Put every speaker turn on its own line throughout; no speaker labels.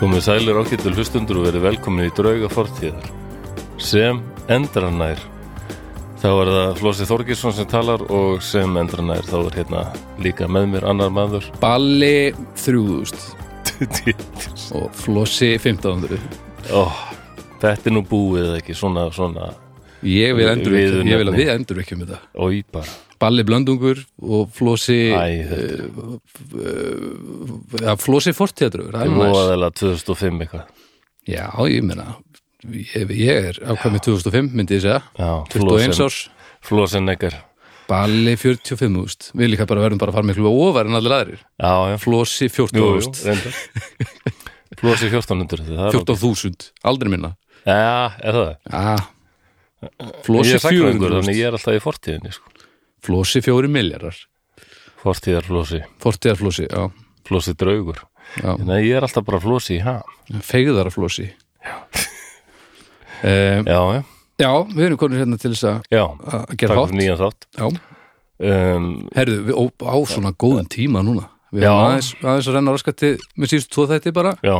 Komið sælir ákvættil hlustundur og verið velkomin í drauga fortíðar sem endranær þá er það Flósi Þorgilsson sem talar og sem endranær þá er hérna líka með mér annar maður
Balli 3000
Djöfull.
og Flossi 1500
Ó, Þetta er nú búið eða ekki svona, svona
Ég vil endur ekki,
Viðurnefni.
ég vil að við endur ekki um þetta
ói bara
Balli Blöndungur og Flossi
Æ, þetta
ja, Flossi Fortíðadrögur, það
er
er nú næs
móðaðilega 2005 eitthvað
Já, ég meina ég, ég er ákvæmið 2005 myndi ég segja
Já,
21
Flosen-
árs,
Flosen ekkert
Balli 45 úst Við líka bara verðum bara að fara miklu ofar en allir aðrir
Já, já
Flossi 14
Jú, jú,
úst
reyndar Flosi 1400 það er
14.000, aldrei minna
ok. Já, er það
ah,
Ég
Flossi
er sakrangur,
400
þannig ég er alltaf í fortíðinni sko.
Flossi 4 miljardar
Fortíðar flosi,
Fortíðarflossi, já,
flosi draugur
já.
Nei, ég er alltaf bara flosi í ham
feigðarflossi um,
Já, já,
Já, við erum konur hérna til þess að
já
að
Takk
gera
fyrir
hátt
nýjan þátt
Já,
um,
herðu, við, ó, á svona góðum tíma núna Við
Já.
erum aðeins, aðeins að renna raskatti með síðustu tvo þætti bara
Já,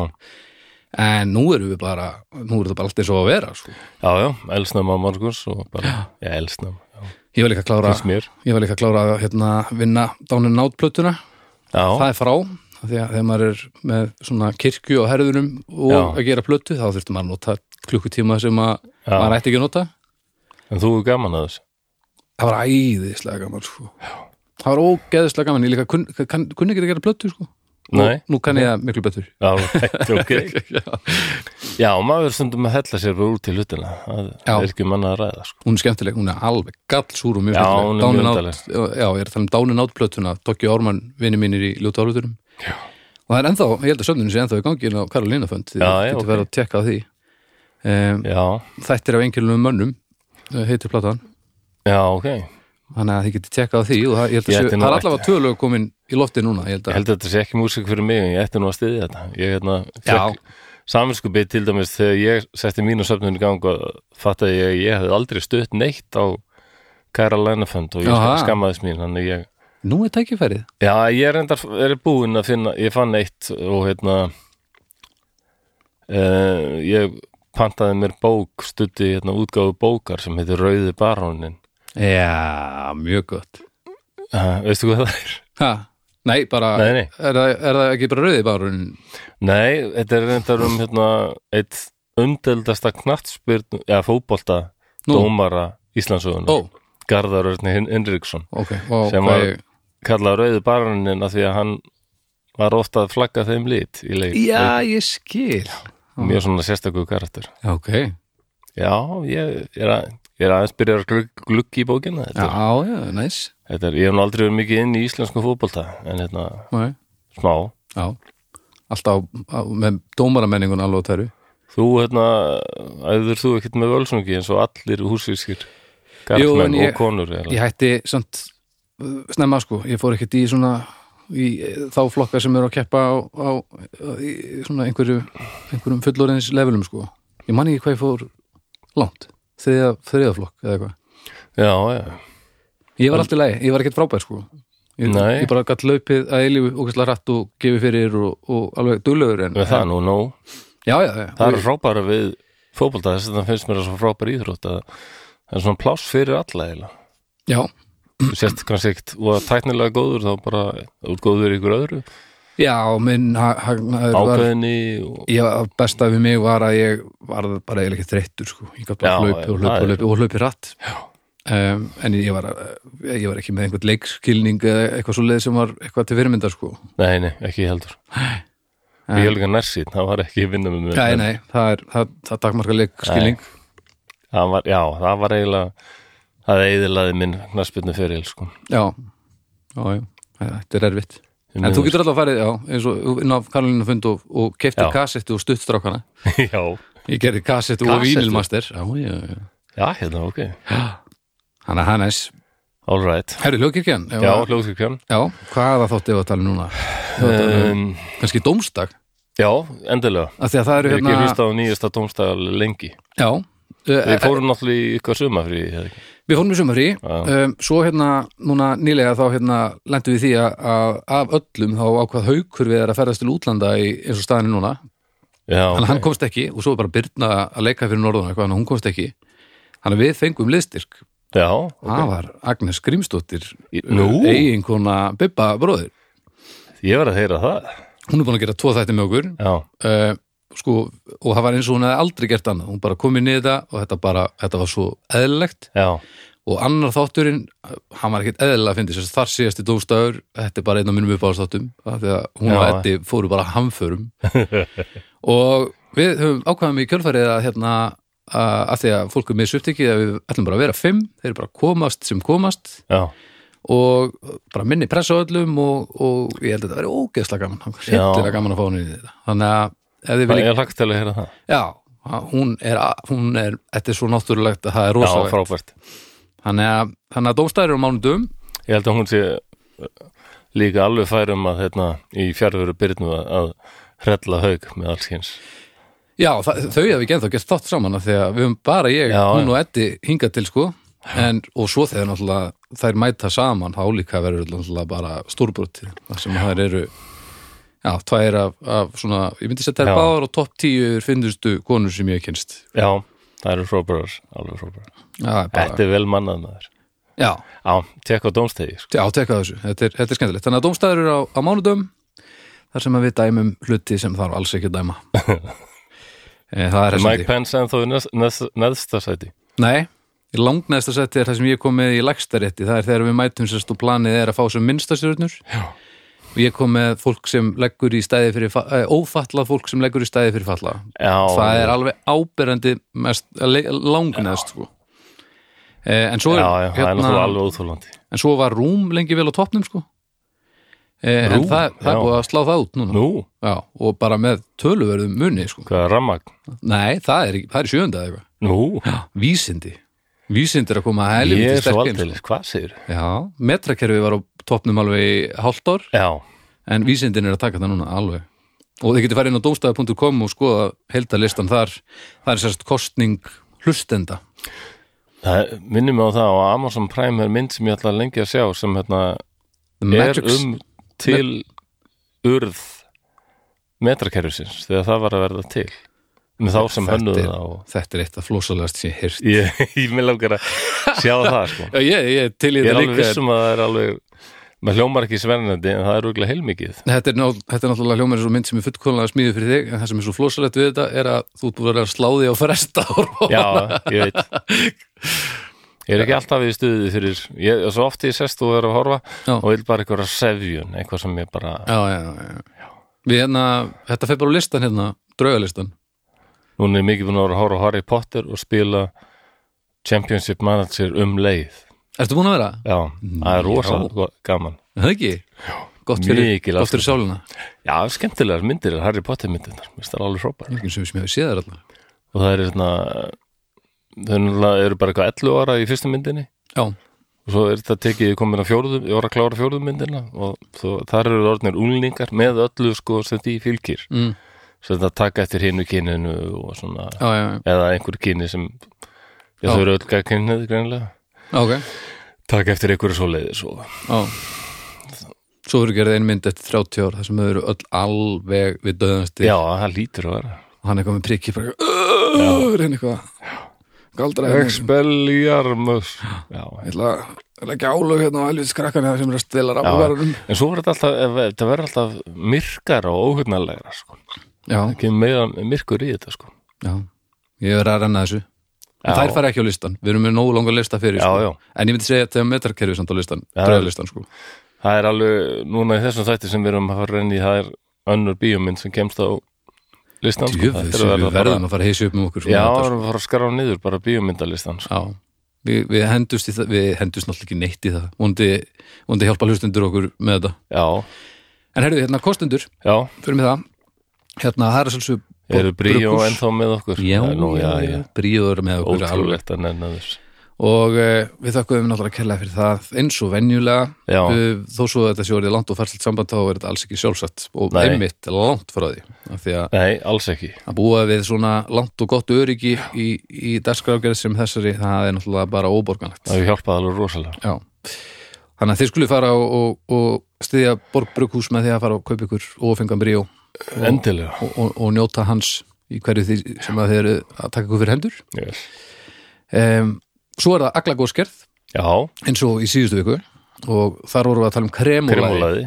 en nú erum við bara, nú er þetta bara allt eins og á að vera sko.
já, já, elsnæma morguns og bara, já, elsnæma já.
Ég var líka að klára
Finnst mér
ég var líka að klára að hérna, vinna dáninn náttplötuna, það
Já,
er frá af því að þegar maður er með svona kirkju og herðunum og
Já.
að gera plötu þá þurftum maður að nota klukkutíma sem að
Já.
maður ætti ekki að nota
en þú er gaman að þessu
það var æðislega gaman sko. það var ógeðislega gaman ég líka kun, kann, kunni ekki að gera plötu sko. nú,
Nei.
nú kann ég það miklu betur
Já, þetta er ok Já, maður stundum að hella sér bara út til hlutina Það
Já.
er ekki manna að ræða sko.
hún er skemmtileg, hún er alveg gallsúr og mjög
Já,
skemmtileg.
hún er
Dánin
mjög
Out-
undarleg.
já, ég er að tala um dánin átt plötuna Tokki Orman, vinni mínir í ljóta áluturum og það er ennþá, ég held að söndunum sé ennþá í gangi inn á Karolína fönd, því
Já,
það
já,
getur
ok.
verið að tekka á því um,
Já,
þetta er af einhverjum mönnum eh, heitir platan,
já, ok Ég
þannig að þið getur tekka á því og það, ég held að
Ég ætti
sé,
nú
það er
ekki-
allavega tvölu komin í lofti núna, ég held að
held að þetta sé ekki músík fyrir mig en ég ætti nú að styðja þetta Ég hérna,
Já.
fekk saminskupið til dæmis þegar ég setti mínu söfnun í gang og fattaði ég að ég hefði aldrei stutt neitt á Kæra Lænafönd og ég
Aha.
skammaðist mín þannig ég
nú er tækifærið
Já, ég er endar er búinn að finna, ég fann eitt og hérna uh, ég pantaði mér bók, stutti hérna útgáfu bókar sem heitir Rauði Barónin
Já, mjög gott
uh, veistu hvað það er?
ha, Nei, bara
Nei, nei.
Er, það, er það ekki bara rauði barun
Nei, þetta er endar um hérna eitt undeldasta knattspyrn eða fótbolta
Nú.
dómara Íslandsögunar
Ó,
Garðar Örni Hin- Hinriksson
ok, ó,
Sem
hvað
var-
ég-
kallaði Rauði Barónin af því að hann var ofta að flagga þeim lit í leik
Já, ég skil
mjög svona sérstakur karakter
Já, ok Já,
Já, ég, ég, er, að, ég er aðeins byrjar að glugg, glugg í bókina þetta, er-
já, næs
þetta er, Ég hef nú aldrei verið mikið inn í íslensku fótbolta en hérna,
Nei,
smá
Já, alltaf á, með dómaramenningun alveg á tæru
Þú, hérna, æður þú ekkert með völsungi eins og allir húsvískir
Jú, en
karlmenn
ég-
og konur eða?
Ég hætti samt uh, snemma sko, ég fór ekkert í svona í eh, þá flokka sem eru að keppa á, á í svona einhverju einhverjum fullorins levelum sko Ég man ekki hvað ég fór langt þriða, þriða flokk eða eitthvað
Já, já,
Ég var alltaf lægi, ég var ekkert frábær sko Ég,
Nei.
ég bara gætt laupið að eilífu ógæslega rætt og gefið fyrir og, og alveg duglegur en
við það er nú nóg
Já, já, já,
Það er frábæra við fótbolta þess að það finnst mér að svo frábæra íþrótt að það er svona pláss fyrir alla eða
já
Þú sérst kannski ekkert og að tæknilega góður þá bara út góður í ykkur öðru
Já, minn ha- hagnaður var
ákveðinni og...
Já, besta við mig var að ég var bara eiginlega ekki þreyttur sko Ég gætt bara
Já,
hlaupið og
það
hlaupið
er-
og hlaupið og hlaupið rætt um, En ég var, eh, ég var ekki með einhvern leikskilning eða eitthvað svo leið sem var eitthvað til fyrirmyndar sko
Nei, nei, ekki heldur
En-
Ég er líka nærsýn, það var ekki að vinna með mér
Nei, nei, það er, það, það takmarka leikskilning
það var, Já, það var eiginlega það eiginlegaði minn knarsbyrnu fyrir sko.
Já, já, já, þetta er erfitt
Því
En
miður.
þú getur alltaf farið, já, eins og inn á Karolínu fund og, og keiftir
Já.
kassettu og stuttstrákana.
Já,
Ég gerði kassettu og
Kassettu?
vínilmaster. Já, já, já.
já, hérna, ok
Hanna, hann er næs.
All right,
Herri, hljókirkjan.
já, hljóðskirkján
já. Hvaða þótti við að tala um núna?
um,
Kanski dómsdag?
Já, endilega
Af því að það
Ég
eru
hef ekki
hérna... Eh,
hlust á nýjasta tómstæðal lengi
Já.
Við
Við,
fórum náttúrulega í ykkar sumafrí eða ekki?
við fórum í sumari.
Já.
Um, svo hérna, núna nýlega þá hérna lendum við því að, að af öllum þá ákvað haukur við er að ferðast til útlanda í eins og staðinu núna.
já,
þannig að hann komst ekki og svo var bara Birna að leika fyrir norðan eitthvað, þannig að hún komst ekki þannig að við fengum liðstyrk
já
það var Agnes Grímsdóttir uh,
Í- nú?
eiginkona Bibba bróðir
ég var að heyra það
hún er búin að gera tvo þætti með okkur
já,
uh, sko, og það var eins og hún hefði aldrei gert annað hún bara kom inn í þetta og þetta, bara, þetta var svo eðlilegt
já,
og annar þátturinn, uh, hann var ekkert eðlilega að fyndi þess að þar síðasti dómstafur þetta er bara einn af mínum uppáðsþáttum því að hún
Já,
og Eddi fóru bara hamförum og við höfum ákvæðum í kjölfarið að hérna að af því að fólk er með upptikið að við ætlum bara að vera fimm, þeir eru bara að komast sem komast
já,
og bara minni pressa á öllum og, og ég held að þetta veri ógeðslega gaman það var hryllilega gaman að fá hún í þetta þannig að ef þið
ég
viljið,
er lagt til að heyra það
já hún er, að- hún er, þetta er svo náttúrulegt að það er
já,
rosalegt
frábært
þannig að, þannig að dómstæður eru á mánudum
ég held að hún sé uh, líka alveg færum að hérna, í fjárveru byrnu að, að hrella haug með alls kyns
Já, þa- þau hefði ekki ennþá gert þátt saman af því að við höfum bara ég,
Já,
hún og Eddi hingað til sko en, og svo þegar náttúrulega þær mæta saman þá líka verður náttúrulega bara stórbrotið þar sem þær eru já, tvær af, af svona ég myndi setja
Já.
þær báðar og topp tíu finnustu konur sem ég hef kynst
já, það eru frábærar alveg frábærar
Já, bara,
þetta er vel mannað maður
já,
já, tek á dómstegi sko.
já tekka þessu, þetta er, þetta er skemmtilegt þannig að dómstæður eru á, á mánudum þar sem að við dæmum hluti sem þarf alls ekki að dæma Eh, Það er hressandi.
Mike Pence en þó í neðst- neðst- neðsta sæti
Nei, í langneðsta seti er það sem ég kom með í lagstarétti, það er þegar við mætum sérst og planið er að fá sem minnsta stjórnur
Já.
og ég kom með fólk sem leggur í stæði fyrir fa- eh, ófatlað fólk sem leggur í stæði fyrir falla
já,
það er alveg áberandi mest, le- langneðst sko. eh, en, svo
já,
er, hérna-
já, það er náttúrulega alveg óþólandi
en svo var rúm lengi vel á toppnum sko. eh, en
Rúm,
það, það er
já.
búið að slá það út núna
nú,
já, og bara með töluverðum munni sko.
hvað er rammagn
nei, það er, ekki- það er í sjönda eða eitthvað
nú,
vísindi vísindi er að koma að helviti
ég er svo
sterk inn,
aldeilis, hvað segir
sko. já, metrakerfi var á toppnum alveg í hálft ár
já,
en vísindin er að taka það núna alveg og þið getur farið inn á domstæði.com og skoða heldalistan þar það er sérst kostning hlustenda
það minnum mig á það og Amazon Prime er mynd sem ég ætla lengi að sjá sem hérna
The
er
Matrix,
um til urð metrakerfisins þegar það var að verða til með þá sem
Þetta
hönnuðu
er-
það og
þetta er eitt af flósalegast sem ég heyrt
ég, ég vil langar að sjá það sko.
já, ég, ég til í
ég er
þetta
alveg
líka
vissum að það er alveg maður hljómar ekki svernandi en það er rúglega heilmikið
Þetta er, ná, þetta er náttúrulega hljómar eins og mynd sem er fullkomlega smíðið fyrir þig en það sem er svo flósalegt við þetta er að þú ert búin að vera að slá því á fresta og-
já, ég veit ég er ekki alltaf í stuði fyrir ég, svo oft ég sest og er að horfa
Já.
og vil bara eitthvað sefjun eitthvað sem ég bara,
já, já, já, já. Við hérna, þetta fer bara á listan hérna, draugalistan
núna er ég mikið búin að vera að horfa á Harry Potter og spila Championship Manager um leið
Ertu búin að vera?
Já, það er rosalega go- gaman
Er Það ekki? Gott fyrir,
Mikil
gott fyrir sáluna
Já, skemmtilegar myndir er Harry Potter myndirnar Mér finnst það alveg hrópar
Mjög sem ég hef séð þær alltaf
Og það er svona Þau náttúrulega eru bara eitthvað 11 ára í fyrstu myndinni
Já,
Og svo er þetta tekið komin að fjórðu Ég var að klára fjórðu myndina Og svo, þar eru orðnir úlningar með öllu sko sem því fylgir
mm.
Svo þetta taka eftir hinu kyninu og svona
já, já, já,
Eða einhver kyni sem Já,
Já.
þau eru öll gagkinnið greinlega
ok
Taka eftir einhverju svo leiðis og
já. Svo verður gerðið ein mynd eftir 30 ár þar sem þau eru öll alveg við döðansti
Já, það lítur að vera
og hann er komið prikki bara "Ugh", reyna eitthvað galdra hérna
Expelliarmus Já, já
Ég ætla að leggja álög hérna á helvits krakkana sem eru að stela ráðverðunum
en svo verður þetta alltaf, þetta verður alltaf myrkar og óhugnarlegra sko.
Já,
það kemur meira myrkur í þetta sko.
já, ég verður að renna þessu En
Já.
þær fara ekki á listan, við erum með nógu langa lista fyrir
Já,
sko.
já.
En ég myndi segja að þegar metrakerfið samt á listan,
Já.
dröðlistan sko.
það er alveg núna í þessum þætti sem við erum að fara renni það er önnur bíómynd sem kemst á listan sko.
Djöfull,
Þetta er
sem
að
við
verða bara-
verðum að fara að heysi upp með okkur svona
já,
þetta,
við erum að fara að skrá niður bara bíómyndalistan sko.
sko. já. Við, við hendust í það, við hendust náttúrulega ekki neitt í það Vondi, vondi hjálpa hlustendur okkur með þetta
já,
En heyrðu, hérna kostendur,
já,
fyrir mig það Hérna, það er svolsum
eru bríó ennþá með okkur
Já,
Það er nú,
já, já, bríður með okkur alveg.
ótrúlegt að nenna þess
Og uh, við þakkuðum náttúrulega kærlega fyrir það eins og venjulega
Já.
uh, þó svo að þetta sé orðið langt og færslegt samband þá er þetta alls ekki sjálfsett og
Nei.
einmitt langt frá því af því að
nei, alls ekki
að búa við svona langt og gott öryggi í, í dagskrágerð sem þessari það er náttúrulega bara óborganlegt
það hefur hjálpað alveg rosalega
Já. þannig að þið skulle fara og, og, og stiðja borgbrukhús með því að fara og kaupa ykkur ófengan bríó
endilega
og, og, og njóta hans í hverju því sem að þið eru að taka ykkur fyrir hendur
yes.
um, Svo er það aglagóskerð
Já,
eins og í síðustu viku og þar vorum við að tala um kremólaði
Kremólaði.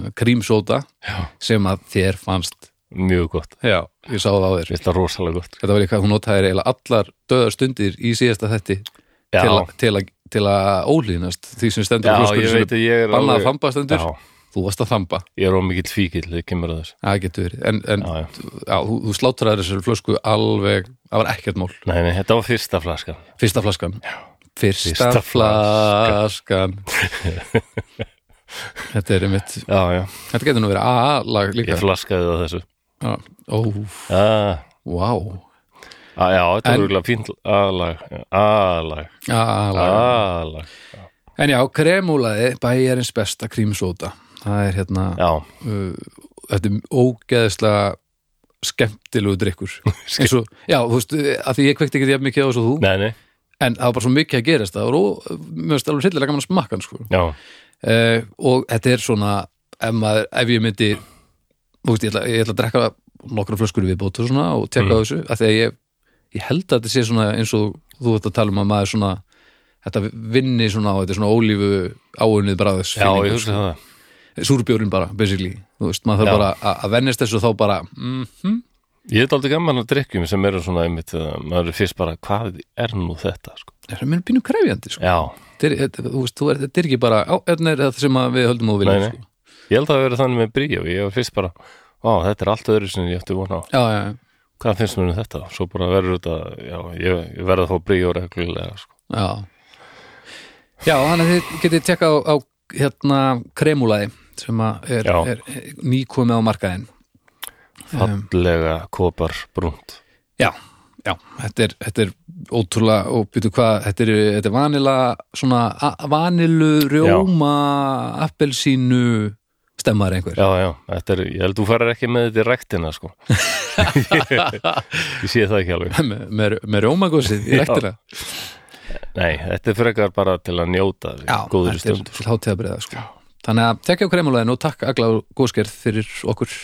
Já, krímsóta
Já.
sem að þér fannst
mjög gott
Já, ég sá það á þér
Þetta er rosalega gott
Þetta var líka, hún notaði eiginlega allar döðar stundir í síðasta þetti
Já.
til, að- til, að- til að ólínast því sem stendur
Já,
á
ég
flöskunni sem
veit að ég er
bannað að
alveg-
þamba stendur
Já,
Þú varst að þamba,
ég er ómikill fíkil þegar kemur að þessu
það getur verið en, en
Já, já.
já, þú, þú slátraði þessari flösku alveg, það var ekkert mál
Nei, nei, þetta var fyrsta flaskan
Fyrsta flaskan Fyrsta,
Fyrsta
flaskan Þetta er einmitt
Já, já,
Þetta getur nú verið A-lag líka
ég flaskaði það þessu
Já. Ó,
ah,
vá
ah, Já,
En-
þetta var rúglega fínt aðlag Aðlag,
A-lag
aðlag
En já, kremúlaði bæjarins besta krímsóta Það er hérna
Já,
uh, Þetta er ógeðslega skemmtilegu drikkur eins og, já, þú veist, að því ég kveikti ekki jafn mikið á þessu og þú,
nei, nei,
en það var bara svo mikið að gerast það var ó, mér finnst alveg hryllilega gaman að smakka hann sko.
já
uh, og þetta er svona ef, maður, ef ég myndi þú veist, ég, ætla, ég ætla að drekka nokkra flöskur við bóta svona og
Mm.
tekka á þessu af því að ég, ég held að þetta sé svona eins og þú ert að tala um að maður svona þetta vinni svona á þetta er svona ólífu áunnið bræðis
Já, ég hugsa það
súrbjórin bara, basically þú veist, maður
Já.
þarf bara að- að vennist þessu og þá bara mm,
Ég er aldrei gaman að drikkjum sem eru svona einmitt, uh, maður er fyrst bara, hvað er nú þetta sko?
þetta er mér pínu krefjandi sko.
Já,
Þetta er- þetta- þú veist, þú er- þetta er ekki bara á, þetta er það sem að við höldum og viljum
Nei, nei.
sko.
ég held að það hafi verið þannig með bríó Ég var fyrst bara, á, þetta er allt öðru sem ég ætti vona á
já, já, já,
Hvað finnst mér um þetta? Svo bara verður þetta, já, ég, ég verð að fá bríó reglulega sko.
Já Já, þannig að þið getið tekka á, á hérna kremulaði sem að er,
Já.
er nýkomið á markaðin
Fallega, kopar, brúnt
Já, já, þetta er, þetta er ótrúlega og býtu hvað, þetta er, þetta er vanila svona a- vanilu rjóma appelsínu stemmar einhver
Já, já, þetta er, ég held þú farir ekki með þetta í rektina sko. ég sé það ekki alveg
með, með, með rjómagósið í
Já.
rektina
Nei, þetta er frekar bara til að njóta því, góðri
þetta er
stund
til hátíðabriða sko. Þannig að tekja á kremulaðin og takk Agla og Góskerð fyrir okkur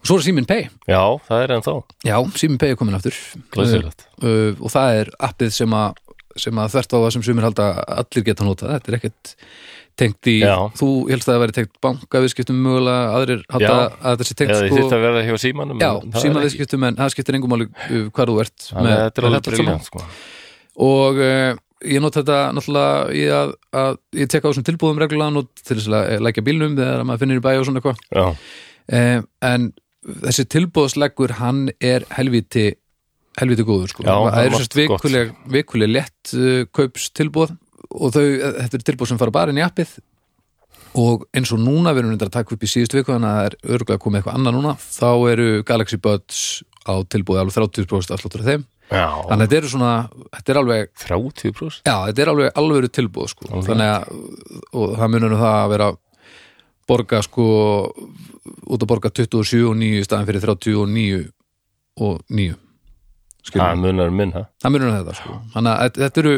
og svo er Síminn Pay
Já, það er ennþá,
Já, Síminn Pay er komin aftur
glæsilegt
uh, og það er appið sem að sem að þvert á það sem sumir halda að allir geta notað, þetta er ekkert tengt í,
Já.
þú helst að það væri tengt bankaviðskiptum mögulega, aðrir halda
Já.
að þetta sé tengt
Eða þið þyrfti
sko,
að vera hjá símanum
já,
en það er ekki.
símaviðskiptum en það skiptir engum máli uh, hvar þú ert
Þannig að Þetta er alveg
allt saman.
briljant sko.
og uh, ég nota þetta náttúrulega í að, að ég tek á þessum tilbúðum reglulega nú til þess að eh, leggja bílnum þegar maður finnir í bæ og svona eitthvað
Já,
um, en þessi tilbúðsleggur hann er helviti helviti góður sko
Já,
það
það er
er
margt
sérst vikuleg, vikuleg lett uh, kaups tilbúð og þau, eh, þetta er tilbúð sem fara bara inn í appið og eins og núna við erum þetta að taka upp í síðustu viku þannig að það er örgulega komið eitthvað annað núna þá eru Galaxy Buds á tilbúði alveg 30% afsláttur af þeim
já
þannig að þetta eru svona, þetta er alveg
30%
Já, þetta er alveg alvöru tilbúð sko. þannig að og það munur nú það að vera borga sko út að borga 27 og 9 í staðan fyrir 39 og 9 skilur
Það munar um minn, ha?
það munur nú þetta sko þannig að þetta- þetta eru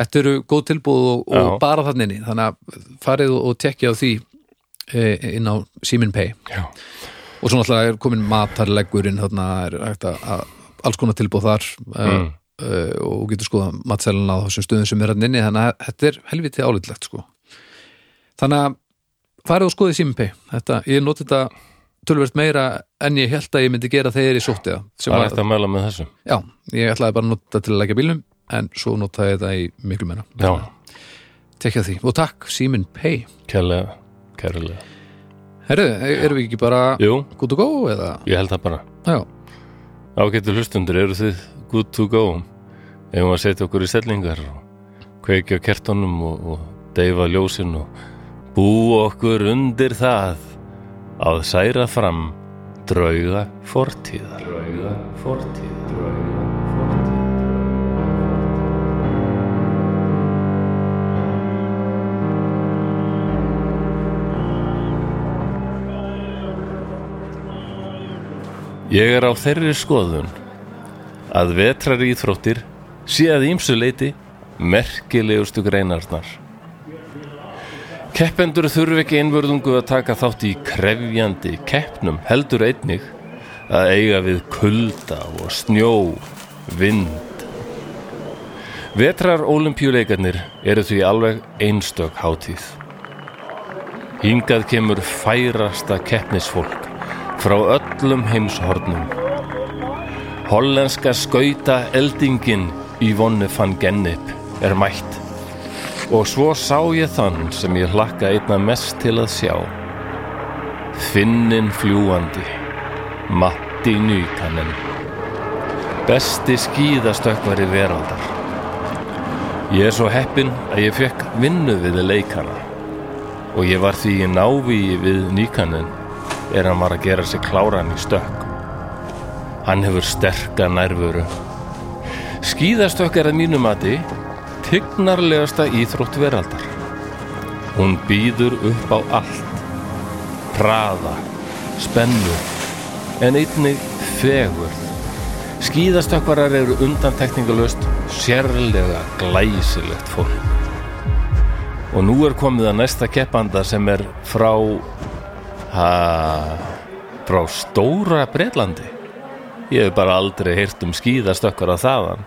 þetta eru góð tilbúð og, og
Já.
bara þannig inni. þannig að farið og, og tekja á því e, inn á Simin Pay
Já.
og svo náttúrulega er komin matarleggurinn þarna er hægt að, að alls konar tilbúð þar mm.
Mm.
uh, og þú getur skoða matselina á þessum stöðum sem er hann inni þannig að þetta er helviti álitlegt sko. þannig að farið og skoðið Simpi þetta, ég noti þetta tölvert meira en ég held að ég myndi gera þegar ég sótti það sem
Það er
að,
eftir að mæla með þessu
já, ég ætlaði bara að nota þetta til að leggja bílnum en svo notaði ég þetta í miklu menna
Já,
tekja því og takk Simin Pay
kærlega, kærlega
Herru, e- erum við ekki bara
Jú,
gútt og góð eða?
ég held það bara
Já,
Ágættu hlustundur, eru þið good to go? Eigum að setja okkur í stellingar og kveikja á kertunum og, og deyfa ljósin og búa okkur undir það að særa fram drauga fortíðar. Drauga fortíðar. Drauga fortíðar. Ég er á þeirri skoðun að vetrar íþróttir sé að ýmsu leiti merkilegustu greinarnar. Keppendur þurfi ekki einvörðungu að taka þátt í krefjandi keppnum heldur einnig að eiga við kulda og snjó, vind. Vetrar olimpíuleikarnir eru því alveg einstök hátíð. Hingað kemur færasta keppnisfólk frá öllum heimshornum. Hollenska skauta eldingin Yvonne van Gennip er mætt og svo sá ég þann sem ég hlakka einna mest til að sjá. Finnin fljúandi, Matti Nýkanen, besti skíðastökkvari veraldar. Ég er svo heppinn að ég fekk vinnu við leikana og ég var því í návíi við Nýkanen er hann var að gera sig kláran í stökk. Hann hefur sterka nærvöru. Skíðastökk er að mínum mati tignarlegasta íþrótt veraldar. Hún býður upp á allt. Praða, spennu, en einnig fegurð. Skíðastökkvarar eru undantekningalöst sérlega glæsilegt fólk. Og nú er komið að næsta keppanda sem er frá, ha, frá stóra Breitlandi. Ég hef bara aldrei heyrt um skíðastökkvara þaðan.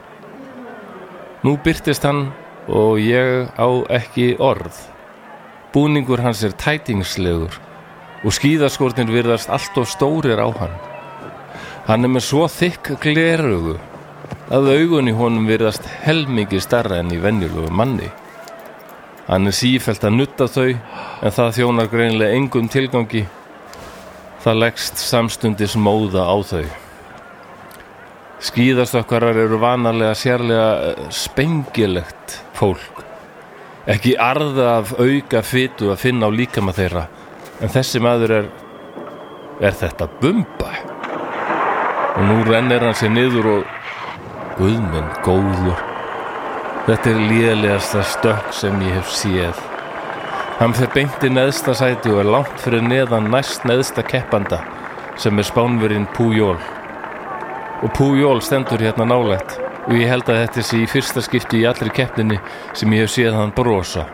Nú byrtist hann og ég á ekki orð. Búningur hans er tætingslegur og skíðaskortin virðast allt of stórir á hann. Hann er með svo þykk glerugu að augun í honum virðast helmingi starra enn í venjulegu manni. Hann er sífælt að nutta þau en það þjónar greinilega engum tilgangi. Það leggst samstundis móða á þau. Skíðastökkarar eru vanalega sérlega eh, spengilegt fólk. Ekki arða af auka fytu að finna á líkama þeirra, en þessi maður er, er þetta bumba. Og nú rennir hann sér niður og, guðminn góður, þetta er lélegasta stökk sem ég hef séð. Hann fer beint í neðsta sæti og er langt fyrir neðan næst neðsta keppanda sem er spánverinn Pújól og Pujol stendur hérna nálægt og ég held að þetta sé í fyrsta skipti í allri keppninni sem ég hef séð hann brosa.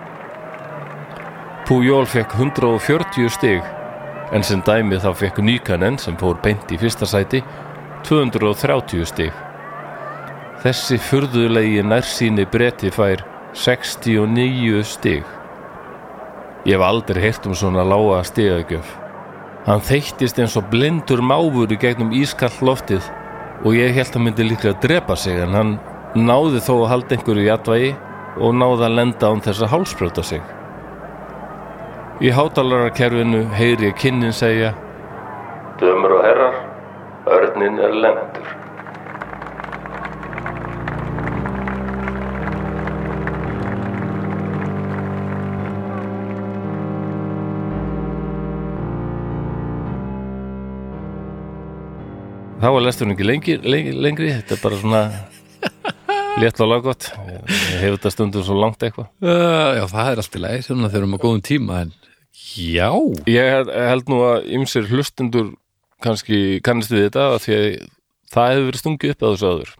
Pujol fekk 140 stig en sem dæmið þá fekk Nýkanen sem fór beint í fyrsta sæti 230 stig. Þessi furðulegi nærsýni breti fær 69 stig. Ég hef aldrei heyrt um svona lága stigagjöf. Hann þeyttist eins og blindur máfur í gegnum ískall loftið og ég held að myndi líklega að drepa sig en hann náði þó að halda einhverju í atvægi og náði að lenda án þess að hálsbrjóta sig. Í hátalararkerfinu heyri ég kynnin segja Dömur og herrar, örnin er lendur. Þá var lesturinn ekki lengi, lengi, lengri, þetta er bara svona létt og laggott. Ég ég hef þetta stundum svo langt eitthvað.
Uh, já, það er allt í lagi, þannig að þau eru með góðum tíma en já,
Ég held- held nú að ymsir hlustendur kannski kannist við þetta af því að það hefur verið stungið upp að þessu aður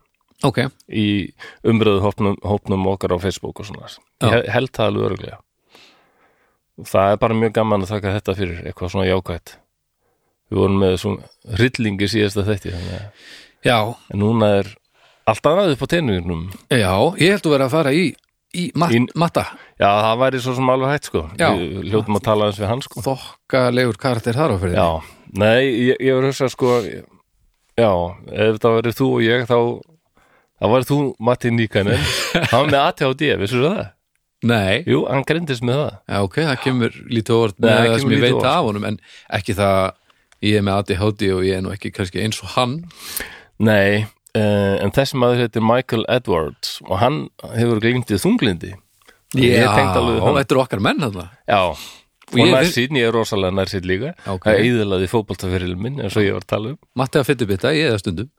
ok,
í umröðu hópnum, hópnum okkar á Facebook og svona. Ég he- held það alveg öruglega. Það er bara mjög gaman að taka þetta fyrir eitthvað svona jákvætt. Við vorum með svona hryllingi síðasta þætti þannig að
já,
en núna er allt annað upp á teinunum.
já, ég held að vera að fara í, í, mat,
Í-
matta,
Já, það væri svo sem alveg hægt sko.
Já.
Við hljótum að tala eins við hann sko.
þokkalegur karakter þar á fyrir
Já, nei, ég, ég var að hugsa sko Já, ef það verið þú og ég þá það verið þú Matti Nýkanen hann var með ATHD, vissur það?
nei,
Jú, hann greindist með það
já, ok, það kemur lítið á orð
Nei, það
með það
kemur
sem ég
lítið á
veit
óvart.
af honum en ekki það, ég er með ADHD og ég er nú ekki kannski eins og hann
Nei, uh, en þessi maður heitir Michael Edwards og hann hefur glindið þunglindi Og Ég tengd alveg við hann
þetta eru okkar menn þarna
Já,
ég
og
er-
nærsýn, ég er rosalega nærsýn líka
Ok.
Það eðilaði fótboltaferilin minn eins og ég var að tala um
Matti að fyttu bita, ég eða stundum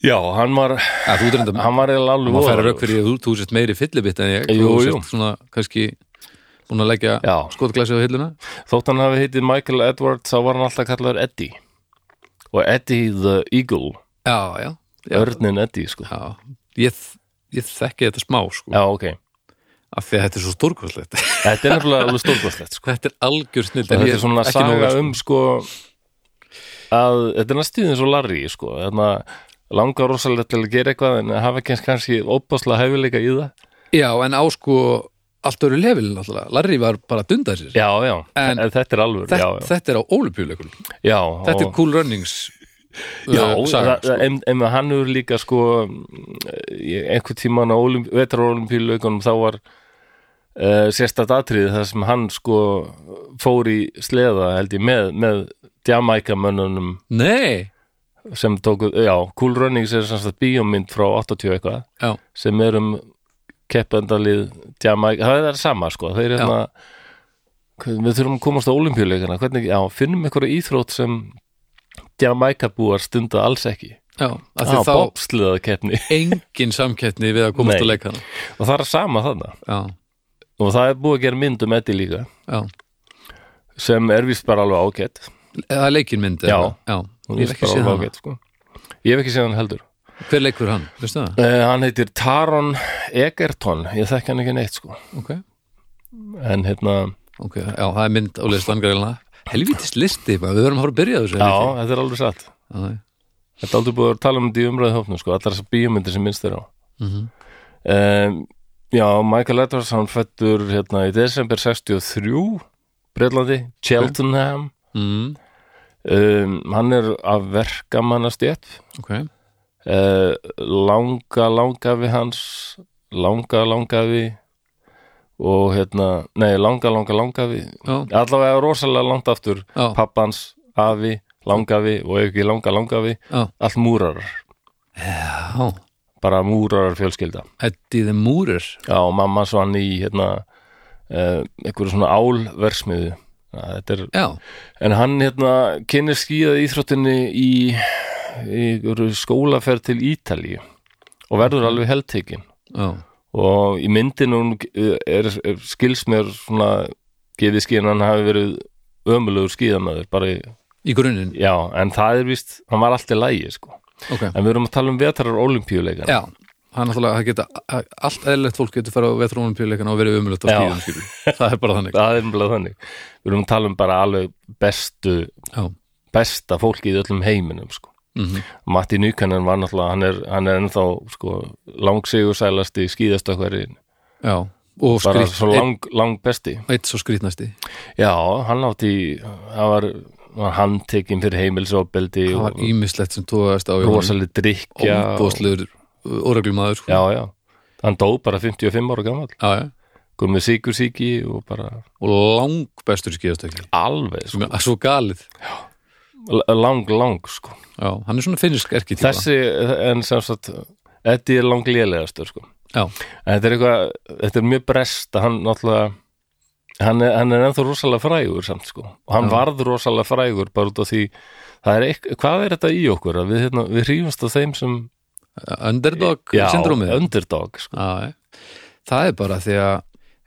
Já, hann var,
að þú dreynda
hann var eiginlega alveg
maður færa
voðalegur.
rauk fyrir því að þú, þú sért meiri fyllibitt en ég
Jú,
þú
jú.
sért svona kannski búin að leggja
Já.
skotglæsið á hilluna
Þótt hann hafi heitið Michael Edwards þá var hann alltaf kallaður Eddie og Eddie the Eagle
já, já, já,
Örnin Eddie sko
já. Ég, ég þekki þetta smá sko.
Já, ok,
af því að þetta er svo stórkvæslegt
Þetta er nefnilega alveg stórkostlegt sko.
þetta er algjör snill
Þetta er svona saga
sko.
um sko að þetta er næstíðin svo larri sko. Þarna langar rosalegt til að gera eitthvað en hafa ekki eins kannski óbáslega hefileika í það
Já, en á sko allt öru lefil náttúrulega, Larry var bara að dunda sér
Já, já,
En-
en, þetta er alvöru
þetta,
já, já.
þetta er á ólupjuleikum
Já,
Þetta er
og-
cool runnings
Já,
Eh,
uh,
það,
saga,
sko. en, en hann hefur líka sko ég- einhver tíman á vetrarólympíulaukunum þá var uh, sérstætt atriði þar sem hann sko fór í sleða held ég með, með Jamaica mönnunum
nei,
sem tóku, já, Cool Runnings er sem sagt bíómynd frá 80 eitthvað
já,
sem er um keppendalið Jamaica, það er sama sko þeir er
Já.
hérna við þurfum að komast á olimpíuleikana hvernig, já, finnum einhverja íþrótt sem Jamaica búar stunda alls ekki
já af því
Já,
þá
bobsleða keppni
engin samkettni við að komast
Nei.
á leikana
og það er sama þarna
já,
og það er búið að gera mynd um Eddie líka
já,
sem er vist bara alveg ágætt
eða leikinmynd
Já.
eða- já,
Hún
ég
er
hef
víst
ekki
bara
séð
alveg
hana
ágæt, sko. ég hef ekki séð hann heldur
hver leikur hann, veistu það?
uh, hann heitir Taron Egerton ég þekki hann ekki neitt sko
ok,
en hérna,
ok, já, það er mynd á listan greina helvítist listi, bara, við verðum að fara að byrja á þessu
já,
helvíti.
þetta er alveg satt
Já, já.
Þetta er aldrei búið að tala um þetta í umræði hófnum sko, allar þessar bíómyndir sem minnst þeirra á
Mhm.
um, Já, Michael Edwards hann fættur hérna í desember 63 Breitlandi, Cheltenham
mm,
um, hann er af verkamannastjett
ok,
uh, langa langafi hans langa langafi og hérna, nei, langa langa langafi
já,
allavega rosalega langt aftur
já,
pappans, afi, langafi og ef ekki langa langafi,
já,
allt múrarar
já.
bara múrarar fjölskylda
Eddie the Moorer
já, og mamma svo hann í hérna uh, einhverju svona álversmiðu ja, þetta er,
já,
en hann hérna kynir skíða íþróttinni í, í einhverju skólaferð til Ítalíu og verður alveg heldtekin
já,
og í myndinu hún eh, er, er skils mér svona gefið skíðan hann hafi verið ömulegur skíðamæður bara í,
í grunninn,
já, en það er víst hann var alltaf lægi sko
ok
en við erum að tala um vetarar olimpíuleikana
Já, hann náttúrulega, það geta allt eðlilegt fólk getur fara á vetrónumpíuleikana og verið umlögt á
Já.
skíðum, skilur það er bara þannig,
það er umlega þannig við erum að tala um bara alveg bestu
já,
besta fólkið í öllum heiminum sko.
mm
Matti Nukanen var náttúrulega hann er, hann er ennþá sko, langsigur sælasti skýðastökkveri
já og
bara
skrýt,
svo lang, lang besti
eitt, eitt svo skrýtnasti
já, hann átti hann var, var handtekinn fyrir heimilsofbeldi
það var
og
ímislegt sem tóðast á í honum.
rosaleg drikja og,
óbúðslegur óreglumaður, sko
já, já, hann dó bara 55 ára gammal
Já, já,
kom með síkursíki og bara
og lang bestur skíðastökki
alveg, sko,
svo galið,
L- lang, lang sko.
já, hann er svona finnsk erki típa,
þessi, en sem sagt Eddie er langlélegastur sko.
já,
En þetta er eitthvað, þetta er mjög brest að hann náttúrulega hann er, hann er ennþá rosalega frægur samt sko og hann
Já.
varð rosalega frægur bara út af því það er eitthvað, hvað er þetta í okkur að við, hérna, við hrýfumst á þeim sem
underdog syndrómið
underdog sko.
Já, já. það er bara því að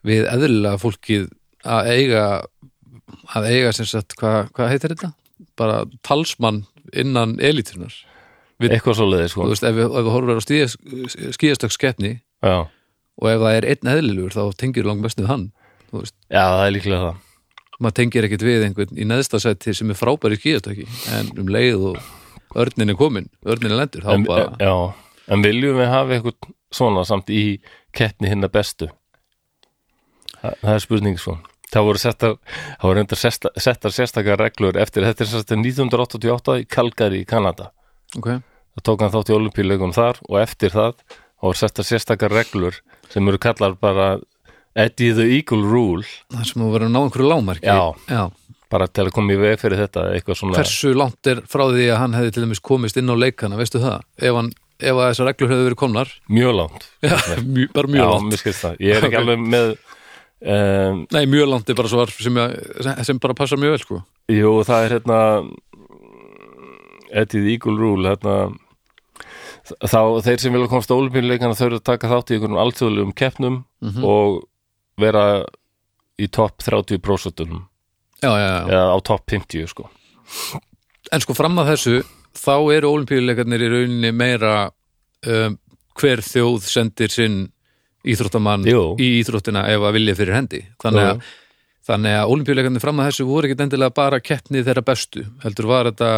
við eðlilega fólkið að eiga að eiga sem sagt, hvað hva heitir þetta? bara talsmann innan elítunar Við-
eitthvað svo leiði sko
þú veist, ef við, ef við horfum á skíðastökskeppni
já.
og ef það er einn eðlilegur þá tengir langmest við hann þú veist,
já, það er líklega það
maður tengir ekkit við einhvern í neðstasæti sem er frábæri skíðastöki en um leið og örnin er komin örnin er lendur, þá
en, eh,
bara
já, en viljum við hafa eitthvað svona samt í keppni hinna bestu Þa, það er spurning sko það voru settar, það voru reyndar sesta- settar sérstakar reglur eftir þetta er sem sagt 1988 í Calgary í Kanada
ok,
það tók hann þátt í olimpíuleikum þar og eftir það þá var settar sérstakar reglur sem eru kallar bara Eddie the Eagle Rule
það sem þú verður að ná einhverju lámarki
Já.
já.
bara til að koma í veg fyrir þetta eitthvað svona
hversu langt er frá því að hann hefði til dæmis komist inn á leikana, veistu það? Ef, hann, ef að þessar reglur hefðu verið komnar
mjög langt
já, mjö, bara
Já,
mjög langt
mér skilst það. Ég er ekki
Ok.
alveg með um,
Nei, mjög langt er bara svar sem, að- sem bara passar mjög vel sko.
Jú, það er hérna Eddie the Eagle Rule hérna þá þeir sem vilja komast á olimpíuleikana þau eru að taka þátt í einhverjum alþjóðlegum keppnum
Mhm.
og vera í topp 30%
já, já, já.
eða á topp 50 sko
En sko fram að þessu þá eru olimpíuleikarnir í rauninni meira um, hver þjóð sendir sinn íþróttamann
Jú.
í íþróttina ef að vilja fyrir hendi þannig
Jú.
að, þannig að olimpíuleikarnir fram að þessu voru ekki endilega bara keppni þeirra bestu heldur var þetta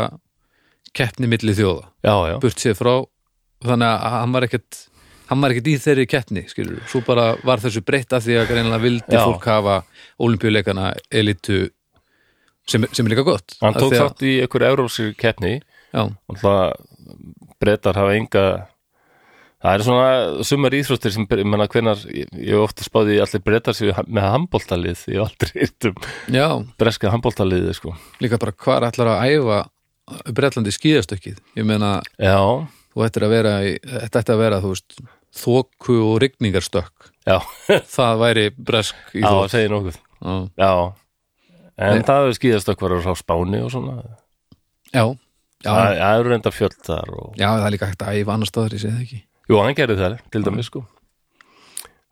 keppni milli þjóða,
já, já,
burt sér frá þannig að hann var ekkert hann var ekkert í þeirri keppni, skilur svo bara var þessu breytt af því að greinlega vildi
Já.
fólk hafa olimpíuleikana elitu sem, sem er líka gott
hann
Af
tók
því að-
þátt í einhverju európsir keppni
já,
og það breytar hafa enga það er svona sumar íþróttir sem ég menna hvenar, ég, ég hef ofta spáði allir breytar sér með handbóltalið ég hef aldrei hýrt um
já,
breska handbóltaliðið sko.
líka bara hvar ætlar að æfa Bretlandi skíðastökkið ég meina,
já,
þú ættir að vera í, þetta ætti að vera, þú veist þóku og rigningarstökk
já,
það væri bresk í
já,
þótt
segi nokkuð
já,
já, en
Nei.
það er skýðastökkvar á Spáni og svona
já, já,
það það eru reyndar fjöld þar og...
já, það er líka hægt að æfa annar staðar, ég segi það ekki
Jú, hann gerði það, til dæmis sko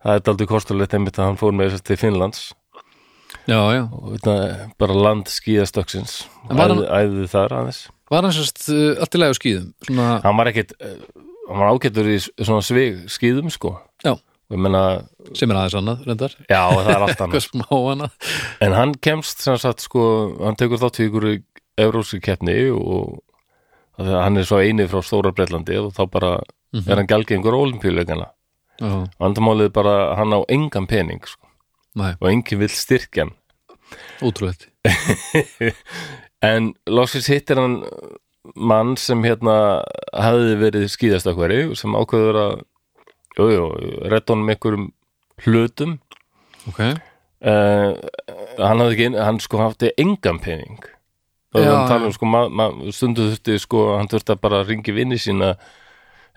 Það er daldið kostulegt einmitt að hann fór með þess til Finnlands
já, já,
og veitna, bara land skíðastöksins
En var
æði, æði þar aðeins
var hann sérst uh, allt í lagi á skíðum svona,
Hann var ekkit, eh, hann var ágættur í s- svona svig skíðum sko
já,
og ég menna,
sem er aðeins annað, reyndar
já það er allt annað
eitthvað smá annað,
En hann kemst sem sagt sko, hann tekur þátt í ykkur euróski keppni og af því að hann er svo eini frá Stóra Breitlandi og þá bara er hann gælgengur á olimpíuleikana
já,
Vandamálið er bara að hann á engan pening sko,
næ,
og enginn vill styrkja hann
ótrúlegt
En loksins hittir hann mann sem hérna hefði verið skíðastakveri sem ákveður að jú, jú, retta honum einhverjum hlutum
ok,
uh, hann hafði ekki inn- hann sko hafði engan pening og
Já,
hann tala
já.
um sko ma, ma, stundu þurfti sko hann þurfti að bara ringi vinni sína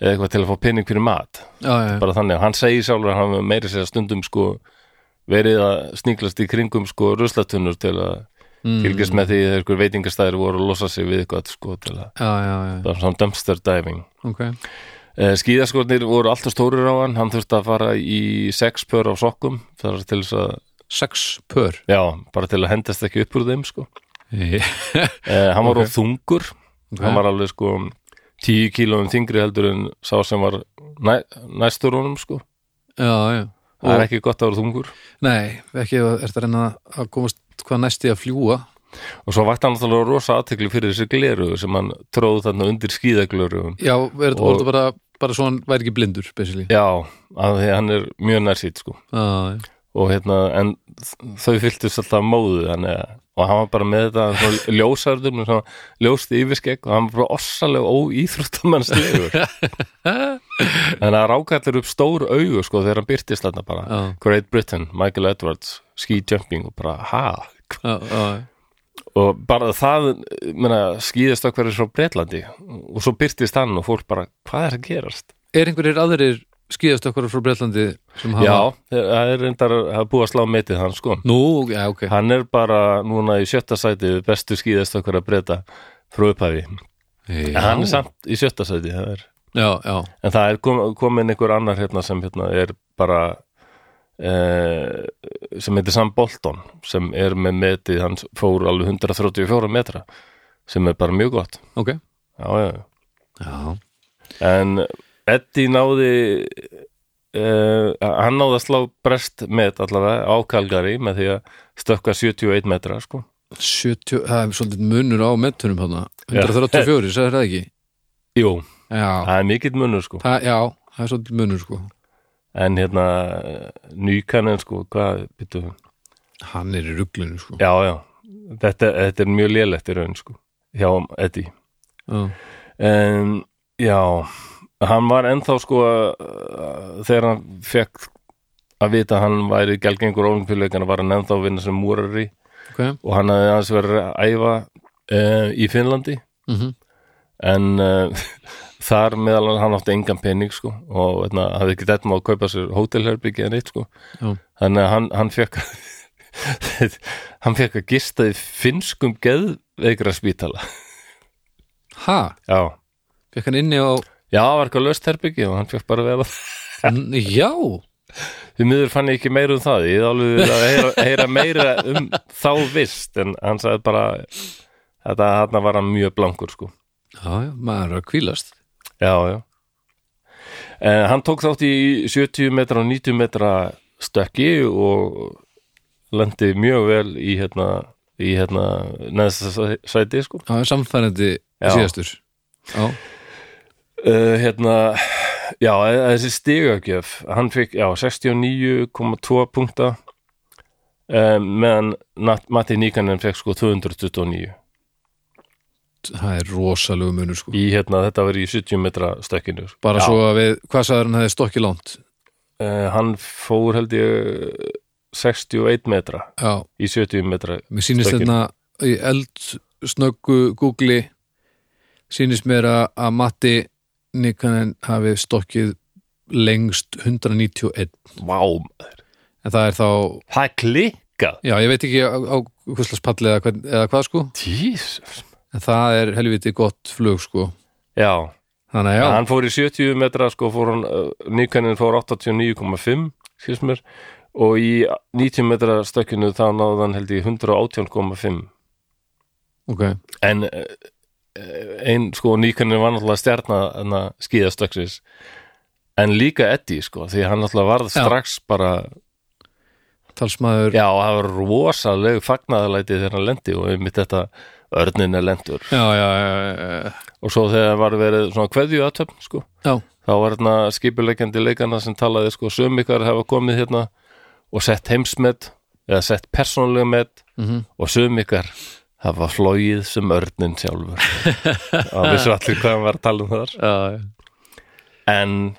eða eitthvað til að fá pening fyrir mat
já, já,
bara þannig, hann segir sjálfur að hann hafi meiri sér stundum sko verið að sníklast í kringum sko ruslatunnur til að
mm,
fylgjast með því að einhver veitingastæðir voru að losa sig við eitthvað sko til að
já, já, já,
það var svona dumpster diving
ok
eh, skíðaskornir voru alltaf stórir á hann hann þurfti að fara í sex pör á sokkum það er til þess að,
sex pör
já, bara til að hendast ekki upp úr þeim sko
ok,
eh, hann var
Ok.
okay. of þungur hann var alveg sko tíu kílóum þingri heldur en sá sem var næ, næstur honum sko
já, já
það er ekki gott að vera þungur
Nei, ekki ef er þetta reyna að komast hvað næst í að fljúa
og svo vakti hann náttúrulega rosa aðtekli fyrir þessi gleru sem hann tróð þarna undir skíðaglöru
Já, er
Og-
þetta bara, bara svo hann væri ekki blindur basically
já, af því að hann er mjög nærsýtt sko
Já,
og hérna, en þau fylltist alltaf móðu þannig að og hann var bara með þetta svona ljósarður með svona ljósti yfirskegg og hann var bara ossalega óíþróttamannslegur en það rákallir upp stór augu sko þegar hann byrtist þarna bara
Já.
Great Britain, Michael Edwards, ski jumping og bara ha
já, já,
og bara það, menna, skýðast okkar er svo bretlandi og svo byrtist hann og fólk bara, hvað er að gerast?
Er einhverjir aðrir skýðast okkur frá Bretlandi sem hafa
Já, það er reyndar það er búið að slá metið hann sko
Nú, já, ok
hann er bara núna í sjötta sæti við bestu skýðast okkur að breyta frá upphæfi,
já.
en hann er samt í sjötta sæti, það er,
Já, já,
en það er kom, komin einhver annar hérna sem hérna er bara eh, sem heitir Sam Bolton sem er með metið, hann fór alveg 134 metra, sem er bara mjög gott,
ok
já, já, já
Já,
en Eddie náði uh, hann náði að slá brest met allavega á Kalgari með því að stökka 71 metra sko.
70, það er svolítið munur á metunum hana 134, sagði það ekki
Jú,
Já,
það er mikill munur sko.
það, já, það er svolítið munur sko
en hérna nýkanin sko, hvað byttu
Hann er í ruglinu sko
já, já, þetta, þetta er mjög lélegt í raun sko, hjá Eddie
Já,
en já hann var ennþá sko uh, þegar hann fekk að vita að hann væri gelgengur ólimpíuleikana var hann ennþá að vinna sem múrari
ok
og hann hafði aðeins verið að æfa uh, í Finnlandi
mm
en uh, þar meðal annars hann átti engan pening sko og veitna, hafði ekki þetta má að kaupa sér hótelherbyggi en eitt sko
Já.
þannig að hann, hann fekk hann fekk að gista í finnskum geðveikra spítala
Ha,
já,
fekk hann inni á
já, það var eitthvað löst herbyggi og hann fekk bara að vera
N- Já,
því miður fann ég ekki meira um það ég hefði alveg vilja að heyra, heyra meira um þá vist en hann sagði bara þetta hann var hann mjög blankur sko
já, já, maður er að hvílast
Já, já Eh, hann tók þátt í 70 metra og 90 metra stökki og lendi mjög vel í hérna, í hérna neðsta sæti sko.
Það er samfærandi
Já.
síðastur Já,
Uh, hérna, já, eh, þessi stigagjöf, hann fikk, já, 69,2 punkta um, meðan Nat- Matti Nikanen fekk sko 229
það er rosalegu munur sko
í hérna, þetta var í 70 metra stökkinu. sko.
Bara
já,
svo að við, hvað sagður hann hefði stokki langt
Eh, hann fór held ég 61 metra
Já,
í 70 metra.
mér sýnist
Stökkið.
þetta í eldsnöggu Google sýnist mér að að Matti Nikanen hafi stokkið lengst 191
Vá, maður.
en það er þá,
það er klikkað.
já ég veit ekki á, á hverslas palli eða, hvern, eða hvað sko
Jesus.
en það er helviti gott flug sko
Já,
þannig að
Já.
já,
Hann fór í 70 metra sko fór hann, nýkannin fór 89,5 skilst mér og í 90 metra stökkinu þá náði hann held ég 118,5
ok
en eh, ein sko nýkannin var náttúrulega stjarna skíðastöksins en líka Eddie sko því hann náttúrulega varð
Já.
strax bara
talsmaður,
já það var rosaleg fagnaðalæti þegar hann lendi og einmitt þetta örnin er lendur
já, já, já, já,
og svo þegar var verið svona kveðju aðtöfn sko
já.
þá var hérna skipuleikandi leikana sem talaði sko sum ykkar hafa komið hérna og sett heimsmet eða sett persónlega met
Mhm.
og sum ykkar hafa flóið sem örnin sjálfur það vissu allir hvað hann var að tala um þar
já,
en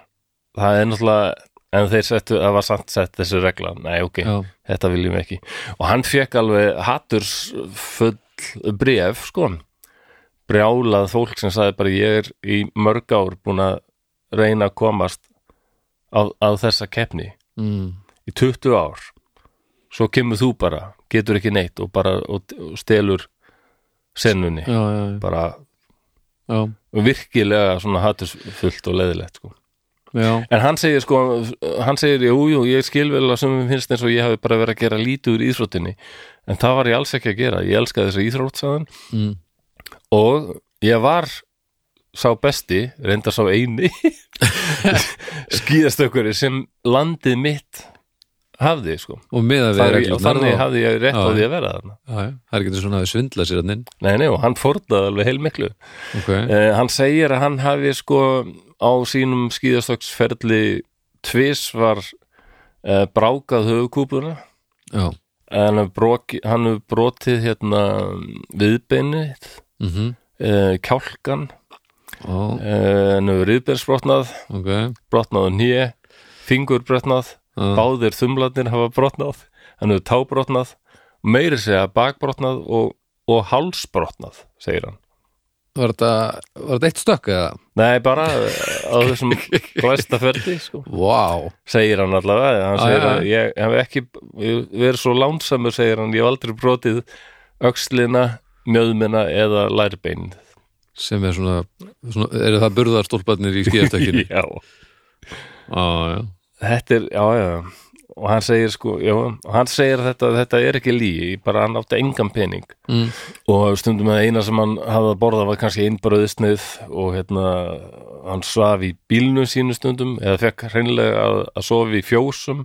það er náttúrulega en þeir settu, það var samt sett þessu regla nei ok,
já.
þetta viljum við ekki og hann fekk alveg hatursfull bref sko brjálað fólk sem sagði bara ég er í mörg ár búin að reyna að komast á, á þessa keppni
Mm.
í 20 ár svo kemur þú bara, getur ekki neitt og bara og, og stelur sennunni,
já, já, já,
bara
já,
virkilega svona hatursfullt og leðilegt sko
já.
En hann segir sko, hann segir, jú, jú, ég skil vel að sumum finnst eins og ég hafi bara verið að gera lítið úr íþróttinni, en það var ég alls ekki að gera, ég elskaði þessa íþrótt, sagðan,
Mm.
og ég var sá besti, reyndar sá eini, skýðastökkuri sem landið mitt hafði, sko.
og með að
Þar,
vera
og þannig
já,
hafði ég rétt á
Já.
því að vera þarna.
já. það er ekki svona að svindla sér hann inn
Nei, nei, og hann fórnaði alveg heilmiklu.
ok,
Eh, hann segir að hann hafi sko á sínum skíðastöksferli tvis var eh, brákað höfukúpuna
já
en hann brok, hann hefur brotið hérna viðbeinið
mm
eh, kjálkan
ó,
eh, hann hefur viðbeinsbrotnað
ok
brotnað og nýja, fingurbrotnað
Já.
báðir þumlarnir hafa brotnað hann hefur tábrotnað meiri segja bakbrotnað og, og hálsbrotnað, segir hann
var þetta, var þetta eitt stökk eða?
Nei, bara eh, á þessum glæsta ferdi, sko
wow,
segir hann allavega hann
Já,
segir
Ah, já, já.
að ég hef ekki ég hef verið svo lánsamur, segir hann ég hef aldrei brotið öxlina mjöðmina eða lærbein
sem er svona, svona eru það burðarstólparnir í skíðastökkinu
já,
já, já,
þetta er, já, já og hann segir sko, já, og hann segir að þetta, þetta er ekki lígi, bara hann átti engan pening
mm.
og stundum að eina sem hann hafði að borða var kannski einbröðisnið og hérna hann svaf í bílnum sínu stundum eða fekk hreinlega að, að sofa í fjósum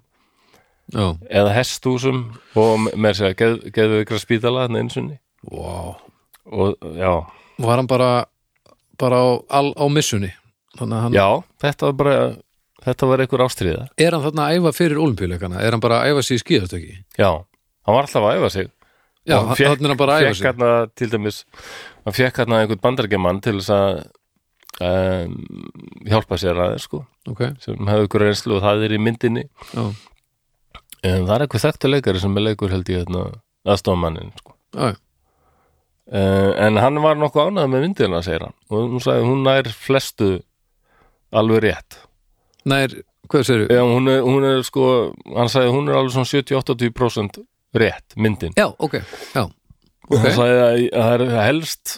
já,
eða hestúsum og með þess að geð, geðu ykkur spítala þarna eins og
wow
og já,
var hann bara bara á, al, á missunni þannig að hann,
já þetta var bara þetta var einhver ástríða
er hann þarna að æfa fyrir olimpíuleikana, er hann bara að æfa sig í skíðastökki
já, hann var alltaf að æfa sig
já,
Og
hann- þarna er hann bara að æfa
fekk
sig
hérna til dæmis hann fekk hérna einhvern bandargemann til þess að um, hjálpa sér aðeins sko
ok,
sem hefur ykkur reynslu og það er í myndinni
já,
en það er einhver þekktu leikari sem er leikur held ég hérna, aðstofmannin sko
já, já
Uh, en hann var nokkuð ánægð með myndina, segir hann og hún sagði, hún nær flestu alveg rétt
Nær, hvað segir þú?
Já, hún er, hún er sko, hann sagði hún er alveg svona 70-80% rétt myndin.
Já, ok, já
Okay. Hann
okay.
sagði að að það er helst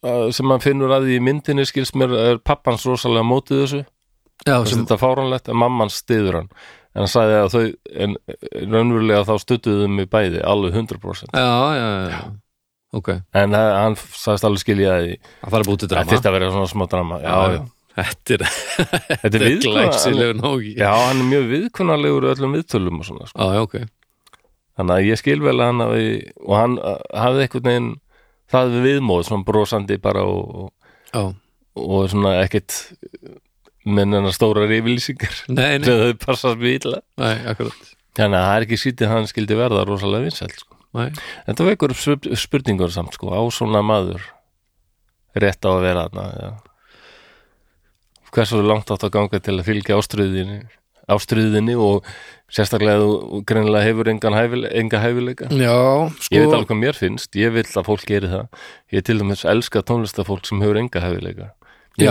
að- sem hann finnur að því í myndinni skilst mér er pappans rosalega mótið þessu
Já,
sem...
sem,
þetta er fáránlegt en mamman stiður hann en hann sagði að þau en raunverulega þá stuttuðu mig bæði alveg 100%
já, já, já, já. Ok,
en það- hann sagðist alveg skilja að því
það þarf að búti
það
drama
fyrst að vera svona smá drama já, já.
Þetta er,
Þetta er viðkvæmlega
glæsileg nógi
Já, hann er mjög viðkvæmlegur öllum viðtölum og svona sko.
á, já, ok
Þannig að ég skil vel að hann hafi og hann uh, hafði einhvern veginn það við viðmóð, svona brosandi bara og, og
Já,
og svona ekkert menn hennar stórar yfirlýsingar
nei, nei,
sem þau passast mjög illa
nei, akkurat
þannig að það er ekki sýtið hann skildi verða rosalega vinsæl sko.
Nei,
en það vekur upp svip- spurningar samt sko, á svona maður rétt á að vera þarna ja. hversu langt átt að ganga til að fylgja ástriðinni ástriðinni og sérstaklega ef þú greinilega hefur engan hæfil, enga hæfileika
já, sko
ég veit alveg hvað mér finnst, ég vil að fólk geri það ég til dæmis elska tónlistafólk sem hefur enga hæfileika ég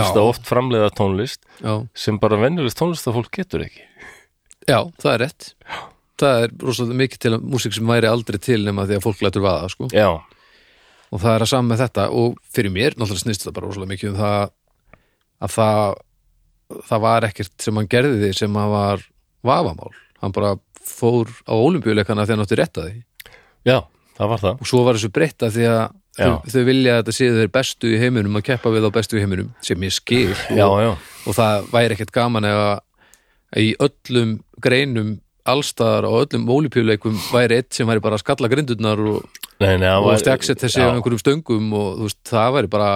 Já.
finnst það oft framleiða tónlist
já,
sem bara venjulegt tónlistafólk getur ekki
já, það er rétt Það er rosalega mikið til að músík sem væri aldrei til nema því að fólk lætur vaða, sko
já,
og það er að sama með þetta og fyrir mér, náttúrulega snýst það bara rosalega mikið um það að það það var ekkert sem hann gerði því sem hann var vafamál hann bara fór á olimpíuleikana þegar hann átti rétt að því
já, það var það
og svo var þessu breytta því að þau,
Já.
þau vilja að þetta séu þeir bestu í heiminum að keppa við á bestu í heiminum sem ég skil
já,
og,
já,
og það væri ekkert gaman ef að í öllum greinum allstaðar og öllum olimpíuleikum væri eitt sem væri bara að skalla grindurnar og,
nei, nei, það
og
var-
stjagsett þessi á
já,
einhverjum stöngum og þú veist, það væri bara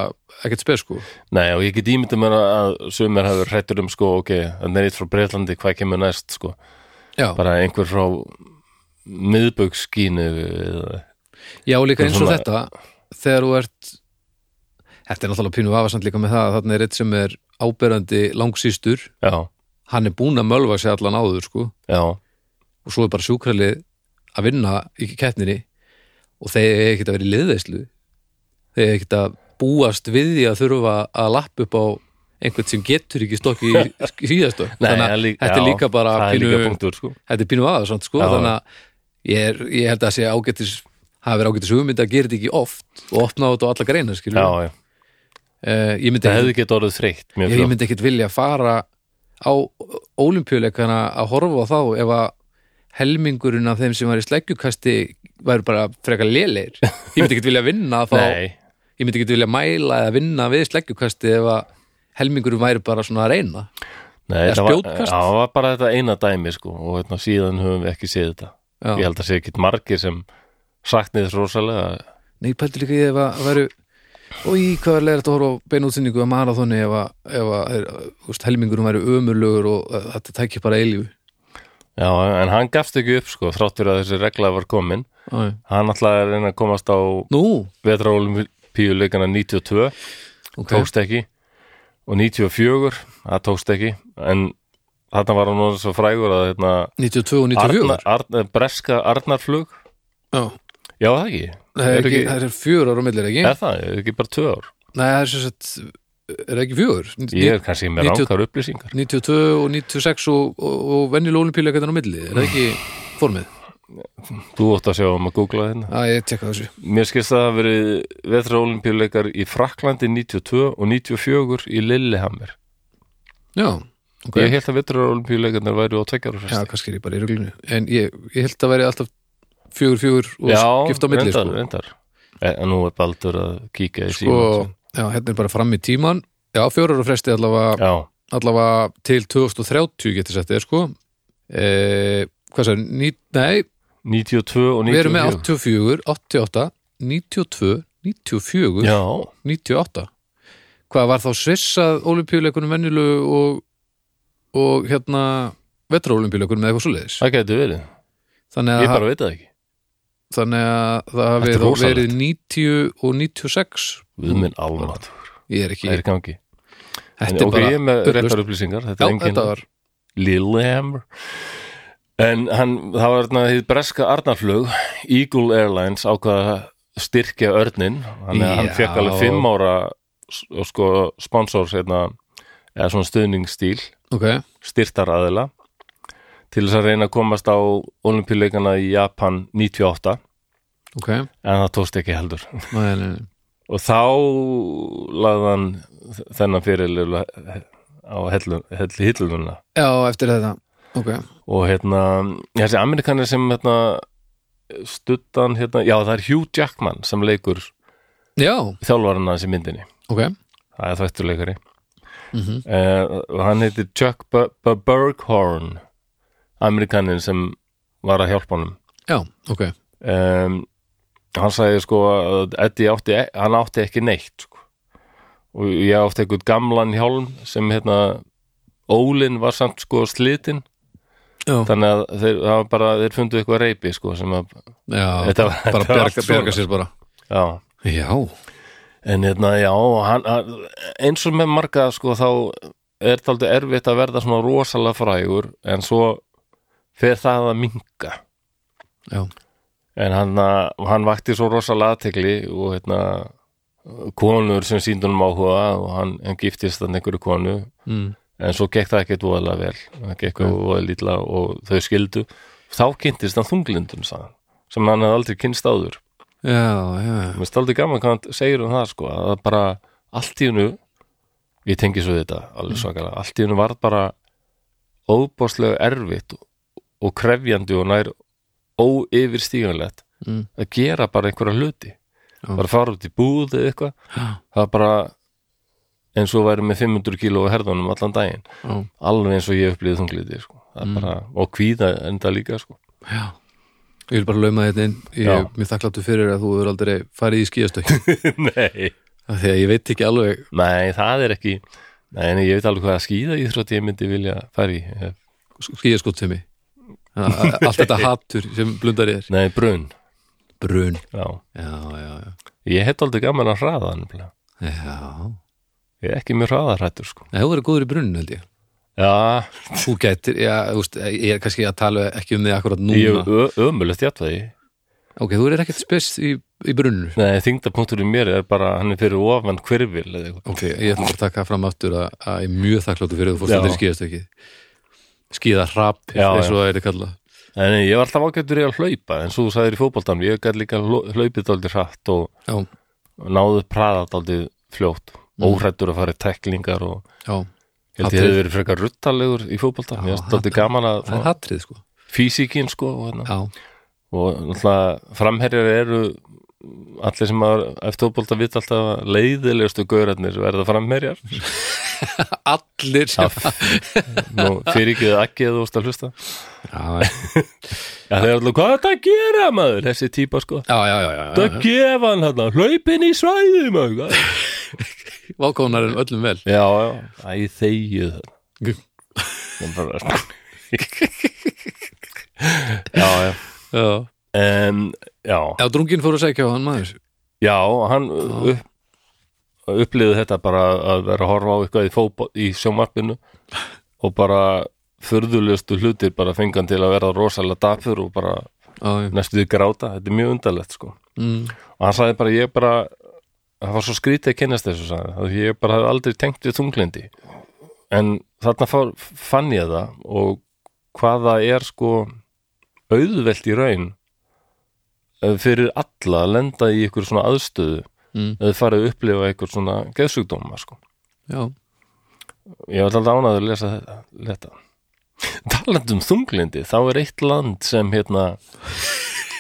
ekkert spes sko
nei, og ég get ímyndið mér að- að sumir hafi hrættur um sko, ok, að neitt frá Breitlandi hvað kemur næst, sko,
já,
bara einhver frá miðböggskínu eða-
já og líka eins og
Svona-
þetta þegar þú ert þetta er náttúrulega pínu vafasand líka með það að þarna er eitt sem er áberandi langsýstur
já,
hann er búinn að mölva sig allan áður sko
já,
og svo er bara sjúkralið að vinna í keppninni og þeir eru ekkert að vera í liðveislu þeir eru ekkert að búast við því að þurfa að lappa upp á einhvern sem getur ekki stokki í síðastokk
Nei,
þannig að
það er lí-
þetta er
já,
líka bara
það er
pínu,
líka punktur, sko.
þetta er pínu aðeins sko,
Já.
þannig að ég, er, ég held að það sé ágættis hafa verið ágættis hugmynd að gera þetta ekki oft og opna á þetta og alla greina skilur
já,
uh,
já
Eh, ég, myndi
það
ekki,
hefði getið orðið þreytt mjög
ég, ég
fljótt.
myndi ekkert vilja fara á ólimpíuleikana að horfa á þá ef að helmingurinn af þeim sem var í sleggjukasti væri bara frekar léleir ég myndi ekkert vilja vinna þá
nei,
ég myndi ekkert vilja mæla eða vinna við sleggjukasti ef að helmingurinn væri bara svona að reyna
nei,
eða
það var, já,
spjótkast.
það var bara þetta eina dæmi, sko, og hérna, síðan höfum við ekki séð þetta
Já.
ég held að sé ekki margir sem saknið þess rosalega
Nei, pæltu líka ég ef að veru og í hvað er leiðrætt að horfa á beinútsynningu að marathoni ef að, ef að er, úst, helmingurum væri ömurlugur og eh, þetta tækir bara eilífu
Já, en hann gafst ekki upp sko, þráttur að þessi regla var komin.
Æ.
Hann alltaf er að reyna að komast á
Nú,
vetraolimpíuleikana 92,
ok
tókst ekki, og 94, það tókst ekki, en þarna var hann orðinn svo frægur að hérna,
92 og 94
Arna, Arna, eh, breska Arnarflug,
Já.
já það ekki,
Það er, ekki, það er fjör ára millir ekki?
er það, er ekki bara tvö ár.
Nei, það er sem sagt er ekki fjör?
Ég er kannski með
90
ránkar upplýsingar.
92 og 96 og, og, og venjulega olimpíuleikarnir á milli, er það ekki formið?
Þú ótt að sjá um að googla þetta.
Æ, ég tekka þessu
Mér skilst að það hafa verið vetraolimpíuleikar í Fraklandi 92 og 94 í Lillehammer.
Já, ok
Ég held að vetrarolimpíuleikarnar væru á tveggjar
Já,
og fyrst
kannski er ég bara í ruglunu En ég, ég held að veri alltaf fjögur, fjögur og skipt á milli
reyndar,
sko.
reyndar E, En en nú er Baldur að kíka í
sko,
símann,
já, hérna er bara fram í tíman já, fjórar og fresti allavega,
Já,
allavega til 2030 getur sett þér sko e, hvað sér, ný, nei
92 og 94
við erum með 84, 88 92, 94
Já,
98 hvað var þá svissað olimpíuleikunum venjulu og, og hérna vetraolimpíuleikunum eða eitthvað svoleiðis
það gæti verið
þannig
Ég
að,
bara veit það ekki
þannig að það hafi
Þetta er
þá
rosalegt.
verið 90 og 96
Við minn almatur,
Mm. ég er ekki,
það er í gangi En
þetta er
ok,
bara
ég er með
bullust.
réttar upplýsingar Þetta
já,
er engin
þetta var,
Lillehammer En hann, það var þarna hið breska Arnarflug Eagle Airlines ákvaða að styrkja örnin Þannig að hann
Já.
fekk alveg fimm ára s- og sko sponsors hérna, eða svona stuðningsstíl
ok
styrtaraðila til þess að reyna að komast á olimpíuleikana í Japan 98
Ok,
en það tókst ekki heldur
nei, nei, nei.
og þá lagði hann þennan fyrir á hellu- hellu hilluna
Já, eftir þetta Ok,
og hérna, þessi amerikanir sem hérna, stuttan hérna, já það er Hugh Jackman sem leikur
já,
þjálfarinn hans í myndinni
ok
það er þvættuleikari
Mhm.
Eh, og hann heitir Chuck B B Berghorn Amerikanin sem var að hjálpa honum
já, ok
um, hann sagði sko að Eddie átti, e- hann átti ekki neitt sko. og ég átti einhvern gamlan hjálm sem hérna ólinn var samt sko slitinn
Já.
þannig að þeir, það var bara, þeir fundu eitthvað reypi sko sem að,
Já,
Þetta var-
bara
þetta var
bjarga,
allt svona.
bjarga sér bara
já
Já,
en hérna, já, og hann, hann- eins og með marga sko þá er það aldrei erfitt að verða svona rosalega frægur en svo fer það að minka
já,
en hann, að- og hann vakti svo rosalega aðtekli og hérna konur sem síndunum áhuga og hann, hann giftist þannig einhverju konu
mm.
en svo gekk það ekkert voðalega vel það gekk mm. voðalega illa og þau skildu þá kynntist hann þunglindum sagðan, sem hann hafði aldrei kynst áður
já, já, já.
mér staldi gaman hvað hann segir um það sko, að það bara allt í hennu ég tengi svo þetta alveg
Mm.
svakalega allt í hennu var bara óbáslega erfitt og krefjandi og nær óyfirstíganlegt
Mm.
að gera bara einhverja hluti
Já.
bara fara út í búð eða eitthvað
Já.
það er bara eins og væri með 500 kíló á herðunum allan daginn
Já,
alveg eins og ég upplýði þungliti sko. Það er
Mm.
bara, og kvíða enda líka sko.
já. Ég vil bara lauma þetta inn ég,
Já.
Mér þakkláttu fyrir að þú verður aldrei farið í skíðastökk
nei,
Því að ég veit ekki alveg
nei, það er ekki nei, en ég veit alveg hvað að skýða í þrótt ég myndi vilja fara í eh,
skíðaskottsemi Allt þetta hattur sem blundar í þér
nei, brun
Brun
já.
Já, já, já,
ég hef aldrei gaman að hraða nefnilega.
já.
ég er ekki mjög hraðarrættur sko.
Nei, þú verður góður í bruninu held ég
já,
Þú gætir, já, þú veist, ég er kannski að tala ekki um þig akkurat núna
ég er ö- ömulegt hjáttvæði
Ok, þú verður ekkert spes í, í bruninu
nei, þingdapunktur í mér er bara hann er fyrir ofan hverfil eða eitthvað.
Ok, ég ætla bara að taka fram aftur að, að ég er mjög þakkláttu fyrir að þú fórst
Já.
aldrei skýðast ekki skýða hrap,
Já,
eins
já.
og það er það kallað
en ég var alltaf ágættur í að hlaupa eins og þú sagðir í fótboltanum, ég gæti líka hlo- hlaupið daldið hratt og
Já,
náðu praða daldið fljótt óhrættur að fara í teklingar og
já,
ég held ég
Hatrið.
hefði verið frekar ruttalegur í fótbolta mér finnst daldið gaman að
það er hattrið sko
físíkin sko og, hérna.
Já,
og náttúrulega framherjar eru allir sem að eftir fótbolta vita alltaf að leiðilegustu gaurarnir verða framherjar
allir sem
nú fyrir ekki það ekki að þú veist að hlusta
Já,
já þeir eru alltaf hvað er þetta að gera maður þessi típa sko
já, já, já, já, já,
það gefa hann hérna hlaupin í svæði maður
já. Vákónar en öllum vel
já já æ þegið það Ég bara Já, já
Já,
en, Já,
já drungin fór að segja á hann maður
já hann upp, upplýði þetta bara að vera að horfa á eitthvað í, fótbol, í sjónvarpinu og bara furðulegustu hlutir bara fengan til að vera rosalega dapur og bara
Já, já,
næstu því gráta, þetta er mjög undarlegt sko
mm,
og hann sagði bara, ég bara það var svo skrítið að kynnast þessu sagði, hann, að ég bara hafði aldrei tengt við þunglindi en þarna fór, fann ég það og hvað það er sko auðvelt í raun eh, fyrir alla að lenda í ykkur svona aðstöðu
Mm.
eða farið að upplifa ykkur svona geðsugdóma sko.
já,
ég var alltaf ánæður að lesa þetta, þetta. talandi um þunglindi þá er eitt land sem hérna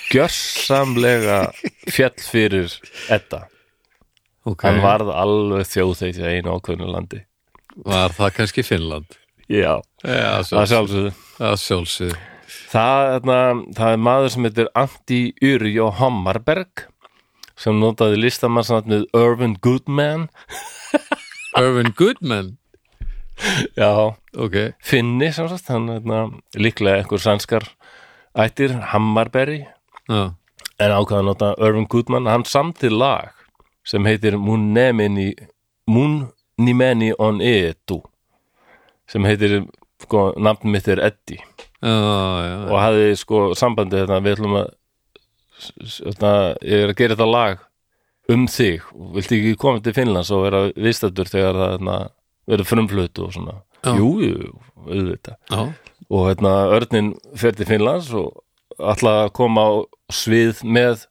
gjörsamlega fjall fyrir þetta
ok
Hann varð alveg þjóðþeitt í einu ákveðnu landi.
Var það kannski Finnland
Já,
Já,
það
sjálfsög
sjálfsögðu.
Já, sjálfsög
Það, þarna, það er maður sem heitir Antti Yrjó Hammarberg sem notaði listamannsnafnið Irvin Goodman.
Irvin Goodman,
Já,
ok
Finni sem sagt, hann þarna, líklega einhver sænskar ættir Hammarberg
Já,
en ákvaða að nota Irvin Goodman. Hann samti lag sem heitir Munnemini Munnimeni on Edu sem heitir, sko, nafn mitt er Eddie.
já, já,
og hafði sko sambandið þetta við ætlum að þetta, ég er að gera þetta lag um þig og viltu ekki koma til Finnlands og vera viðstættur þegar það þarna, verður frumflutu og svona
Já.
jú, jú, jú, auðvitað
já
og hérna Örnin fer til Finnlands og ætla að koma á svið með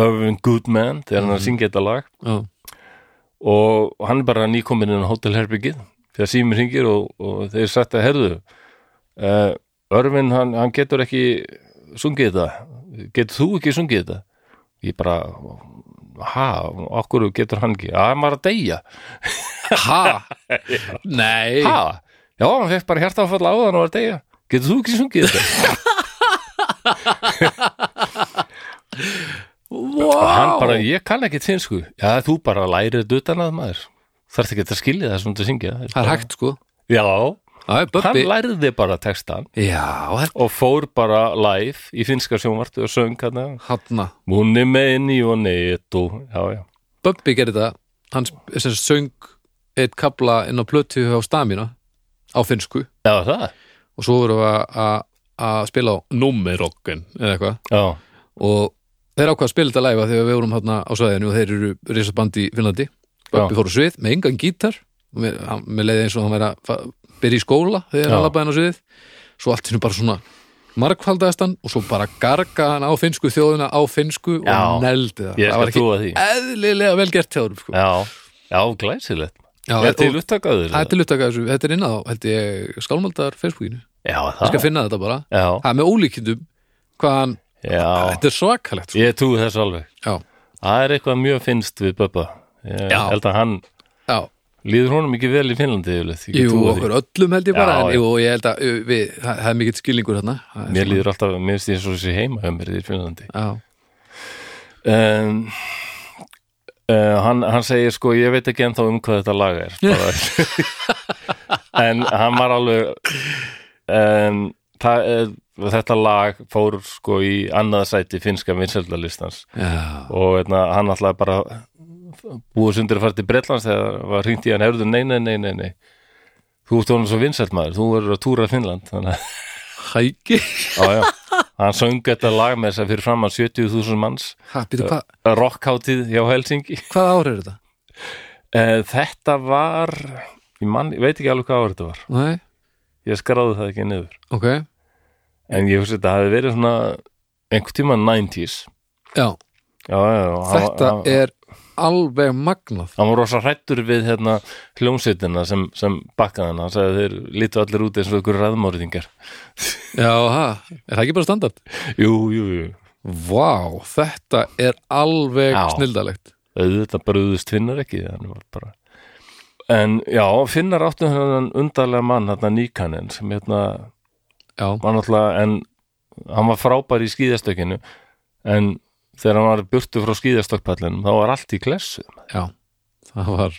Irvin Goodman þegar hann er
Mhm.
að syngja þetta lag
Já,
og hann er bara nýkominn inn á hótelherbyggið þegar símur hringir og, og þeir sagt að herðu uh, Örvin hann, hann getur ekki sungið þetta getur þú ekki sungið þetta ég bara ha, okkur getur hann ekki að maður að deyja,
Ha? Nei
ha já, hann fekk bara hjarta áfalla á þann og var að deyja getur þú ekki sungið þetta? og hann
Vá
bara, ég kann ekki tinsku já, þú bara lærið utan að maður þarf ekki að skilja það sem þú syngja
Það er hægt sko
já,
Það er
hann
Böbbi
lærði bara textan
Já, það er
og fór bara live í finska sjónvartu og söng hann
hann
Munni meini og neitu Já, já
Böbbi gerði það Hann sp- sem sagt söng eitt kabla inn á plötu á stamina á finnsku
Já, það
og svo voru að- að að spila á Númerokken eða eitthvað
Já,
og þeir ákvað að spila þetta læfa þegar við vorum hérna á svæðinu og þeir eru risaband í Finnlandi Böbbi
Já.
fór á svið með engan gítar og mér, hann- mér leiði eins og hann væri að fa- byrja í skóla þegar
Já.
hann labbaði hann á sviðið svo allt hennu bara svona margfaldaðist hann og svo bara gargaði hann á finnsku þjóðina á finnsku
Já.
og neldi það
ég
það var
skal
ekki
trúa því
eðlilega vel gert hjá þér sko.
Já, já, glæsilegt
Já,
Er til
og-
upptakaður?
Það er til upptaka þessu, þetta er inn á, held ég, skálmaldar Facebookinu.
Já,
Ég skal
það
finna þetta bara.
Já,
Það er með ólíkindum hvað hann,
já
þetta er svakalegt. Sko.
Ég trúi þessu alveg
Já,
Það er eitthvað mjög finnst við Böbba Ég
Já.
held að hann
já,
Líður honum ekki vel í Finnlandi yfirleitt Ég
jú,
trúi því
okkur öllum held ég bara,
Já,
en,
já.
jú, og ég held að jú, við, það, það er mikill skilningur þarna. Það er
Mér
svona-
líður alltaf, mér finnst ég svo þessi heima hjá mér í Finnlandi
Já,
um, uh, hann, hann segir sko ég veit ekki ennþá um hvað þetta lag er bara, en hann var alveg um, það, uh, þetta lag fór sko í annað sæti finnska vinsældalistans
já,
og veitna, hann alltaf bara búið sundir að fara til Bretlands þegar var hringt í hann herðu nei, nei, nei, nei, nei þú ert honum svo vinsælt maður, þú verður að túra Finnland þannig að,
hæki.
já, já hann söng þetta lag með þess að fyrir framann 70.000 manns
Ha, býtu, hva,
rockháttið hjá Helsingi
hvað ár er þetta?
Eh, Þetta var ég, man, ég veit ekki alveg hvað ár þetta var
Nei,
ég skráði það ekki niður
ok,
en ég hugsa þetta hafi verið svona einhvern tíma 90s
já,
já, já, já, hann,
þetta
hann,
er alveg magnað.
hann var rosa hrættur við hérna, hljómsveitina sem, sem bakkaði hann hann sagði þeir lítu allir út eins og ykkur ræðmóriðingar
Já, ha, er það ekki bara standart?
jú, jú, jú,
Vá, þetta er alveg
Já.
snildalegt.
auðvitað bröðust finnar ekki hann var bara en já, finnar áttu hann undarlega mann hérna nýkanin sem hérna
Já,
var náttúrulega en hann var frábær í skíðastökinu en þegar hann var burtu frá skíðastökkpallinum þá var allt í klessu
Já, það var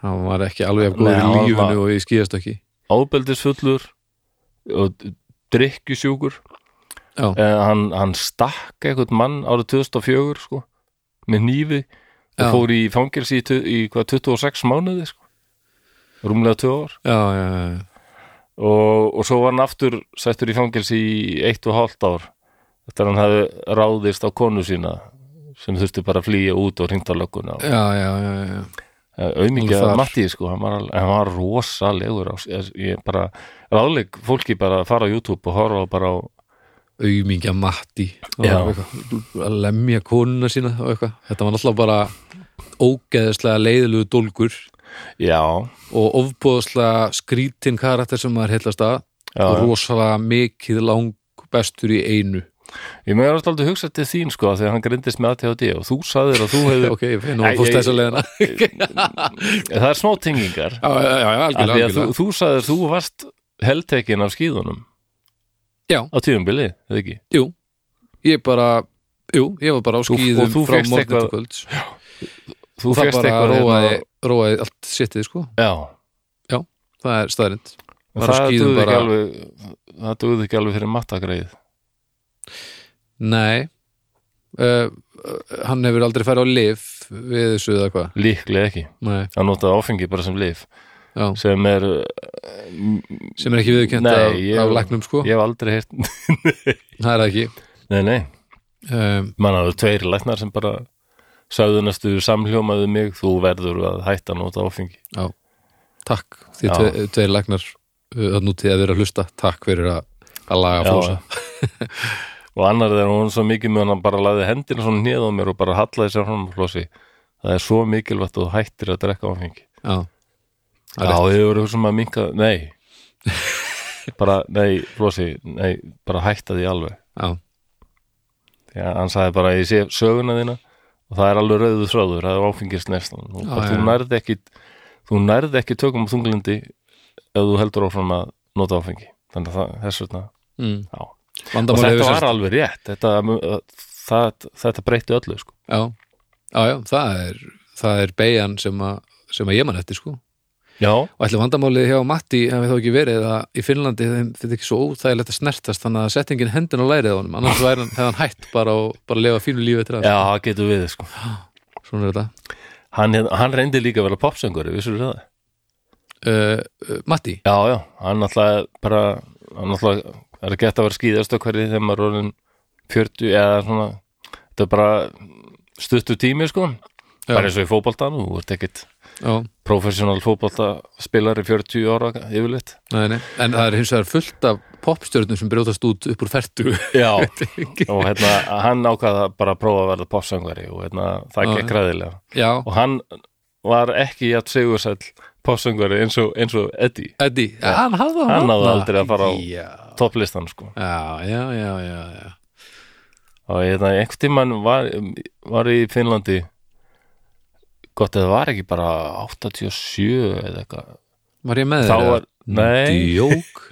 hann var ekki alveg af góður
Nei, hann
í
var
lífinu
bara-
og ég skýðast ekki
ábeldisfullur og drikkjusjúkur
Já.
eh, hann, hann stakk eitthvað mann árið 2004 sko, með nýfi og
Já.
fór í fangelsi í, tu- í hvað 26 mánuði sko, rúmlega 2 ár
Já, já, já, já.
og, og svo var hann aftur sættur í fangelsi í eitt og hálft ár eftir að hann hafi ráðist á konu sína sem þurfti bara að flýja út og hringta lögguna
já, já, já, já. Alveg
auðmikið að
Eh, þar.
Matti sko, hann var, al- hann var rosalegur á, eh, ég bara, ráðleg fólki bara að fara á YouTube og horfa bara á
Aumingja Matti og
Já.
eitthvað, að lemja konuna sína og eitthvað Þetta var náttúrulega bara ógeðislega leiðilegu dólgur
já,
og ofbóðslega skrítin karakter sem maður heillast að
já
og rosalega mikið lang bestur í einu
ég meður alltaf aldrei hugsa til þín sko, þegar hann grindist með ATHD og þú saðir að þú hefði
Ok, ég finn og
Æ,
fórst
ég-
þessa leiðina Já,
Eh, það er smá tengingar
já, já, já,
af
algjörlega,
því að þú,
algjörlega.
þú saðir þú varst heldtekin af skíðunum
Já.
á tíðumbili, eða ekki
Jú, ég bara Jú, ég var bara á
Þú- og
skýðum
þú
frá
fékkst
morgun til
eitthvað-
kvölds
þú
og það
fegst
bara
eitthvað
róaði,
hérna-
róaði allt sittið sko,
já,
það er staðrind
en
Var á
það
skíðum
duði ekki
bara-
alveg það duði ekki alveg fyrir mattagreið
nei uh, hann hefur aldrei farið á lif við þessu eða hvað
líklega ekki,
nei,
það notaði áfengi bara sem lif
já,
sem er,
sem er ekki viðurkend
Nei,
af,
ég-
af læknum sko,
ég hef aldrei heyrt
það er það ekki
nei, nei,
um,
mann hafði tveir læknar sem bara sagðu næstu samhljómaðu mig þú verður að hætta að nota áfengi
takk, því
Já.
tve, tveir læknar uh, að nútið að vera að hlusta takk fyrir að, að laga flósa
og annar þegar hún svo mikið með hann bara laði hendina svona hnið á mér og bara hallaði sér fram flossi það er svo mikilvægt að þú hættir að drekka áfengi
já, Það er
Já, ég voru sem að minka, nei bara, nei, Flósi nei, bara hætta því alveg
já,
því að hann sagði bara, ég sé söguna þína og það er alveg rauðu þráður það er áfengist neslan og
Já,
bara
já,
þú
já.
nærð ekki þú nærð ekki tökum á þunglindi ef þú heldur áfram að nota áfengi þannig að það, þess vegna
mm.
já. og
Vandamál
þetta
hefur
var
sérst
alveg rétt þetta, það, þetta breyti öllu sko.
já. já, já, það er það er beigjan sem, að- sem að ég man eftir sko
já,
og ætli vandamálið hjá Matti hafi þá ekki verið að í Finnlandi þeim þetta ekki svo óþægilegt að snertast þannig að settingin hendin á lærið á honum annars væri hann, hefði hann hætt bara og bara lifa fínu lífi eftir
já,
það
það getur við sko.
svona er þetta
hann, hérna- hann reyndi líka að vera popsöngari vissur það
uh, uh, Matti,
Já, já, hann náttúrulega bara, hann náttúrulega er gett að vera skýðast okkari þegar maður er orðin 40 eða svona, þetta er bara stuttu tími sko
Já.
bara eins og í fótboltanum, þú ert ekkit
já,
professional fótboltaspilari 40 ára yfirleitt
nei, nei. en það er hins vegar fullt af popstjörnum sem brjótast út upp úr fertu
Já, og hérna hann ákvaða bara að prófa að verða popsöngari og hérna það
Já,
gekk ræðilega
já,
og hann var ekki jætt segursæll popsöngari eins og, eins og Eddie,
Eddi, já, hann hafði
Hann náði
þarna.
aldrei að fara á-
já,
topplistan sko
já, já, já, já, já.
og hérna, einhvern tímann var, var í Finnlandi gott að það var ekki bara 87 eða eitthvað
var ég með
þá
þér?
var, nei,
djók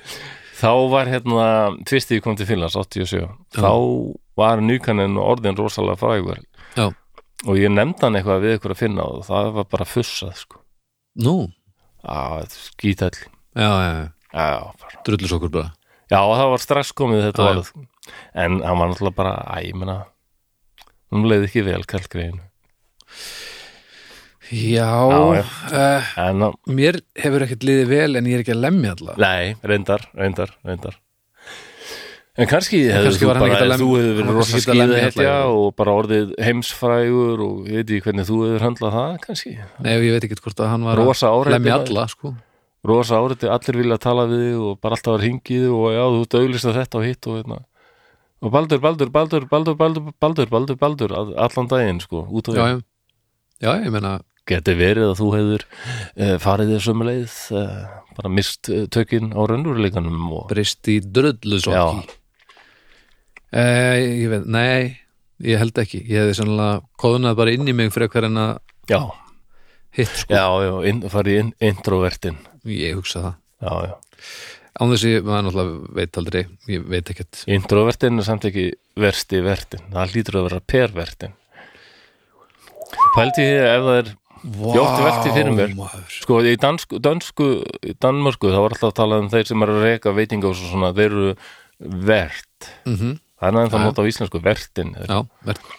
þá var hérna fyrst því ég kom til Finnlands 87 þá var nýkaninn orðin rosalega frægur
Já.
og ég nefndi hann eitthvað við ykkur að finna og það var bara fussað sko
nú,
að skítall
já, já, já,
já, bara.
drullus okkur bara
já, það var strax komið þetta
Já, já.
varð en hann var náttúrulega bara, æ, ég meina hún leiði ekki vel kallgreinu Já,
já,
já.
já.
en hann
Mér hefur ekkert liðið vel en ég er ekki að lemja alltaf
Nei, reyndar, reyndar, reyndar En kannski hefur
kannski
þú
var hann
bara,
ekkert að
ef þú
lem-
hefur
hann var
verið rosa
kannski ekkert að lemja
skýðahetja
alla.
og bara orðið heimsfrægur og ég veit ég hvernig þú hefur höndlað það kannski
Nei, ég veit ekki hvort að hann var
Rosa
að
áreiti
lemja
maður.
alla sko.
Rosa áriði, allir vilja tala við þig og bara alltaf var hingið og já, þú döglist að þetta og hitt og veitna Og Baldur, Baldur, Baldur, Baldur, Baldur, Baldur, Baldur, Baldur, all- allan daginn sko, út og
já,
við
já. já, ég meina
Geti verið að þú hefur uh, farið þér sömu leið, uh, bara mist uh, tökin á raunurleikanum og
breyst í drullusokki eh, Ég veit, nei ég held ekki, ég hefði sannlega kóðunað bara inn í mig frekar en að
Já,
hitt sko,
já, já, inn, farið inn, introvertin
ég hugsa það
Já, já.
án þess að ég- maður náttúrulega veit aldrei ég veit ekkert,
Introvertin er samt ekki versti vertin. Það hlýtur að vera pervertin. Pældi ég ef það er, Ég átti velti fyrir mér.
maður.
sko, í dansku, dansku, í Danmörku, það var alltaf að tala um þeir sem eru að reka veitinga og svona, þeir eru vert.
Mm
Það er aðeins
Já.
að nota á íslensku, vertin.
já, verð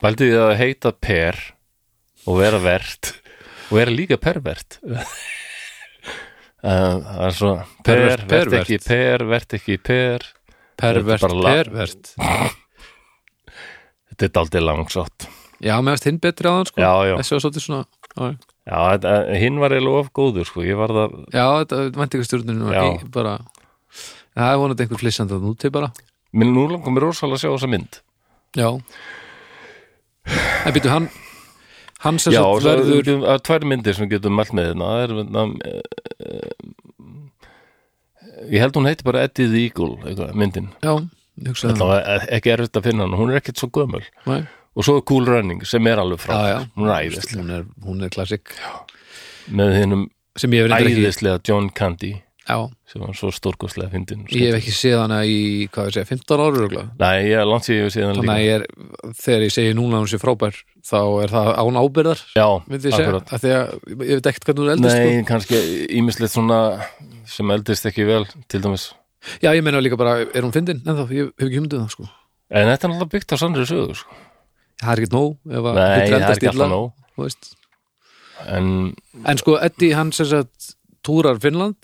Pældi ég að heita per og vera vert og vera líka pervert. Eh, Það er svo, per,
Pervert,
vert,
pervert.
ekki, per, vert ekki, per.
pervert,
Þetta er bara la-
pervert
Þetta er daldið langsótt.
já, mér finnst hinn betri á þann sko
Já, já.
þessi var svolítið svona já, já.
Já, þetta- hinn var eiginlega of góður, sko. Ég var það
Já, þetta vænti ykkur stjórnunum
Já.
í, bara, það er vonandi einhver flissandi að núti bara
Mér nú langar mér rosalega að sjá þessa mynd
Já En býtu, hann hann sem
Já,
sagt
það
verður
verður... er tvær myndir sem við getum mælt með hérna Það er, na, Ég held hún heiti bara Eddie the Eagle eitthvað, myndin
Já, ég hugsa
Þá
það
er ekki erfitt að finna hann, hún er ekkert svo gömul
Nei.
Og svo er Cool Running sem er alveg frá
Já, já.
Hún er æðislega
Hún er, hún er klassik
Með hinnum
sem ég hef reyndar ekki
æðislega John Candy
Já,
sem var svo stórkostlega fyndin
ég hef ekki séð hana í, hvað ég segja, 15 ára örugglega.
Nei, ég langt sér ég við síðan
Þannig
líka
að ég er, þegar ég segi núna að hún sé frábær þá er það án ábyrðar
Já,
myndi ég segja,
akkurat.
af því að ég veit ekkert hvernig hún er sko. eldist
Nei, kannski ímislegt svona sem eldist ekki vel, til dæmis
sko. Já, ég meina líka bara, er hún fyndin? En þá, ég hef ekki hugmyndið það sko
En þetta er náttúrulega byggt á sannri sögur sko.
Það er ekkert nóg ef að
Nei,
vill
það er
endast
ekki
illa,
alltaf nóg
þú veist.
En
En sko, Eddi, hann sem sagt túrar Finnland